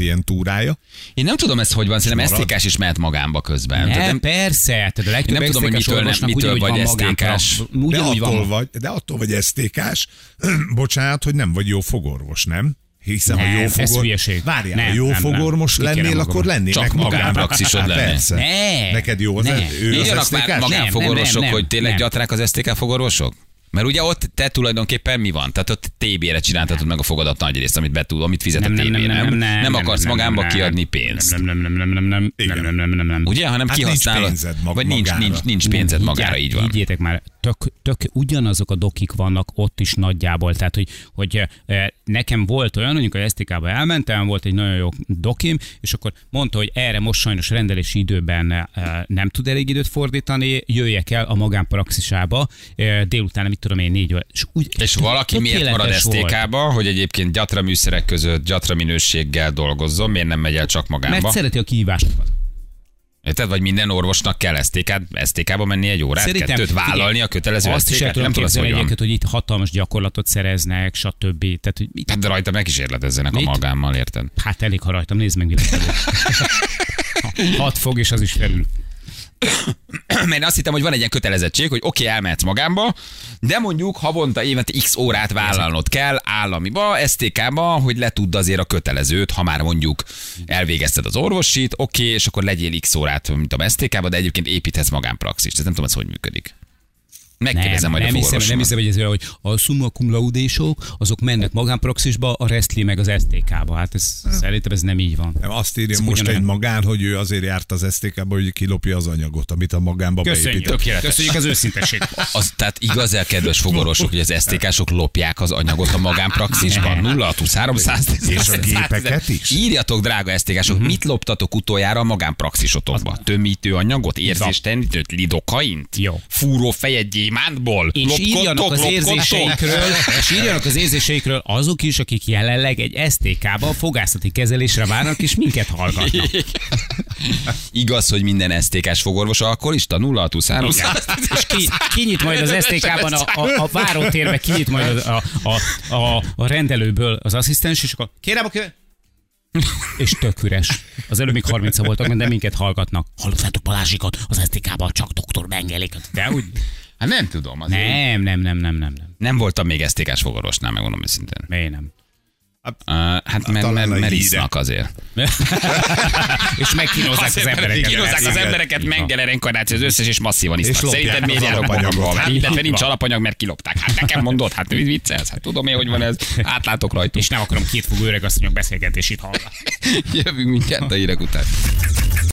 Speaker 1: pacientúrája.
Speaker 2: Én nem tudom ezt, hogy van, szerintem
Speaker 1: Marad.
Speaker 2: STK-s is mehet magámba közben.
Speaker 4: Ne,
Speaker 2: Tehát
Speaker 4: nem,
Speaker 2: nem,
Speaker 4: persze, tehát a legtöbb
Speaker 2: Én nem tudom, hogy
Speaker 4: SZTK-s
Speaker 2: mitől nem-
Speaker 4: orvosnak
Speaker 2: mitől
Speaker 4: ugyanúgy
Speaker 2: vagy
Speaker 4: van magánpra-
Speaker 2: SZTK-s.
Speaker 1: De
Speaker 4: Ugyanúgy
Speaker 1: attól,
Speaker 4: van.
Speaker 1: vagy, de attól vagy STK-s, bocsánat, hogy nem vagy jó fogorvos, nem? Hiszen,
Speaker 4: Nem,
Speaker 1: ha jó
Speaker 4: ez
Speaker 1: fogor...
Speaker 4: hülyeség.
Speaker 1: Várjál,
Speaker 4: Nem,
Speaker 1: ha jó
Speaker 4: nem, nem.
Speaker 1: fogormos
Speaker 4: Kikérem
Speaker 1: lennél,
Speaker 4: magam.
Speaker 1: akkor lennél
Speaker 2: Csak magánpraxisod lennél.
Speaker 1: Persze.
Speaker 4: Ne.
Speaker 1: Neked jó az,
Speaker 4: Ne.
Speaker 1: ő az
Speaker 2: írjanak
Speaker 1: STK-s?
Speaker 2: már magánfogorvosok,
Speaker 4: Nem, nem, nem,
Speaker 2: hogy tényleg
Speaker 4: nem.
Speaker 2: gyatrák az STK fogorvosok? Mert ugye ott te tulajdonképpen mi van? Tehát ott TB-re csináltatod meg a fogadat nagy részt, amit, betud, amit fizet a
Speaker 4: Nem, nem,
Speaker 2: TB,
Speaker 4: nem, nem, nem, nem,
Speaker 2: nem
Speaker 4: nem,
Speaker 2: akarsz
Speaker 4: nem,
Speaker 2: magámba
Speaker 4: nem,
Speaker 2: kiadni
Speaker 4: nem,
Speaker 2: pénzt.
Speaker 4: Nem, nem, nem, nem, nem, nem,
Speaker 1: Igen.
Speaker 4: nem, nem, nem, nem, nem.
Speaker 2: Ugye, hanem
Speaker 1: Hát nincs
Speaker 2: kihasználod.
Speaker 1: pénzed mag-
Speaker 2: vagy nincs,
Speaker 1: magára.
Speaker 2: nincs, nincs pénzed
Speaker 4: Higgyel-
Speaker 2: magára, így van.
Speaker 4: Higgyétek már, tök, tök ugyanazok a dokik vannak ott is nagyjából. Tehát, hogy, hogy eh, nekem volt olyan, mondjuk a STK-ba elmentem, volt egy nagyon jó dokim, és akkor mondta, hogy erre most sajnos rendelési időben eh, nem tud elég időt fordítani, jöjjek el a magánpraxisába eh, délután, mit tudom én, négy óra. És, úgy,
Speaker 2: És valaki miért marad
Speaker 4: tökéletes volt.
Speaker 2: STK-ba, hogy egyébként gyatra műszerek között gyatra minőséggel dolgozzon, miért nem megy el csak magába?
Speaker 4: Mert szereti a kihívásokat.
Speaker 2: Érted? Vagy minden orvosnak kell STK-t, STK-ba menni egy órát, Szerintem, kettőt vállalni a kötelező
Speaker 4: Azt is el
Speaker 2: STK-t? Nem
Speaker 4: tudom
Speaker 2: tudod, hogy
Speaker 4: képzelni
Speaker 2: van.
Speaker 4: egyébként, hogy itt hatalmas gyakorlatot szereznek, stb. Tehát, hogy itt,
Speaker 2: Hát de rajta megkísérletezzenek a
Speaker 4: Mit?
Speaker 2: magámmal, érted?
Speaker 4: hát elég, ha rajtam, nézd meg, mi lett belőle. Hat fog, és az is felül.
Speaker 2: mert én azt hittem, hogy van egy ilyen kötelezettség, hogy oké, okay, elmehetsz magámba, de mondjuk havonta évente x órát vállalnod kell államiba, STK-ba, hogy letudd azért a kötelezőt, ha már mondjuk elvégezted az orvosit, oké, okay, és akkor legyél x órát, mint a STK-ba, de egyébként építhetsz magánpraxist. Ez nem tudom, ez hogy működik. Megkérdezem majd
Speaker 4: nem,
Speaker 2: a
Speaker 4: hiszem, nem
Speaker 2: fogorvosomat.
Speaker 4: hiszem, hogy ez olyan, hogy a summa cum laudésok, azok mennek magánpraxisba, a resztli meg az STK-ba. Hát ez, szerintem ez nem így van.
Speaker 1: Nem, azt írja
Speaker 4: Ez
Speaker 1: most
Speaker 4: ugyanolyan.
Speaker 1: egy magán, hogy ő azért járt az STK-ba, hogy kilopja az anyagot, amit a magánba beépített.
Speaker 2: Tökéletes.
Speaker 4: Köszönjük az őszinteséget.
Speaker 2: Az, tehát igaz el, kedves fogorvosok, hogy az STK-sok lopják az anyagot a magánpraxisban. 0 23 110,
Speaker 1: És a gépeket is?
Speaker 2: Írjatok, drága STK-sok,
Speaker 4: Mhm.
Speaker 2: mit loptatok utoljára a magánpraxisotokba? Tömítő anyagot, érzéstenítőt, lidokaint?
Speaker 4: Jó.
Speaker 2: Fúró fejet gyémántból?
Speaker 4: És írjanak
Speaker 2: Lopkodtok,
Speaker 4: az
Speaker 2: lopkodtok?
Speaker 4: érzéseikről, és írjanak az érzéseikről azok is, akik jelenleg egy STK-ban fogászati kezelésre várnak, és minket hallgatnak.
Speaker 2: Igaz, hogy minden STK-s fogorvos alkoholista? 0 23
Speaker 4: És ki, kinyit majd az STK-ban, a, a, a várótérbe kinyit majd a, a, a, a rendelőből az asszisztens, és akkor kérem a kö... És tök üres. Az előbb még 30 voltak, mert nem minket hallgatnak. Hallottátok Balázsikat az STK-ban, csak doktor Bengeléket. De úgy...
Speaker 2: Hát nem tudom. Azért. Nem.
Speaker 4: Nem, nem, nem, nem, nem, nem.
Speaker 2: nem voltam még STK-s fogorvosnál, megmondom őszintén.
Speaker 4: Miért nem?
Speaker 2: Uh, hát mert,
Speaker 1: talán
Speaker 2: mert,
Speaker 1: a
Speaker 2: mert
Speaker 1: hírek.
Speaker 2: isznak azért.
Speaker 4: és megkínozzák az embereket.
Speaker 2: Kínozzák az
Speaker 1: Igen.
Speaker 2: embereket,
Speaker 4: Így van.
Speaker 2: mengele reinkarnáció, az összes és masszívan
Speaker 1: És
Speaker 2: isznak.
Speaker 1: lopják
Speaker 2: Szerinted
Speaker 1: az
Speaker 2: miért járok
Speaker 1: alapanyagot.
Speaker 2: magammal? Hát,
Speaker 4: Így
Speaker 2: illetve
Speaker 4: van.
Speaker 2: nincs alapanyag, mert kilopták. Hát nekem mondod, hát mit viccelsz? Hát tudom én, hogy van ez. Átlátok rajtuk.
Speaker 4: És nem akarom két fogó öreg asszonyok beszélgetését hallgatni.
Speaker 2: Jövünk mindjárt a hírek után.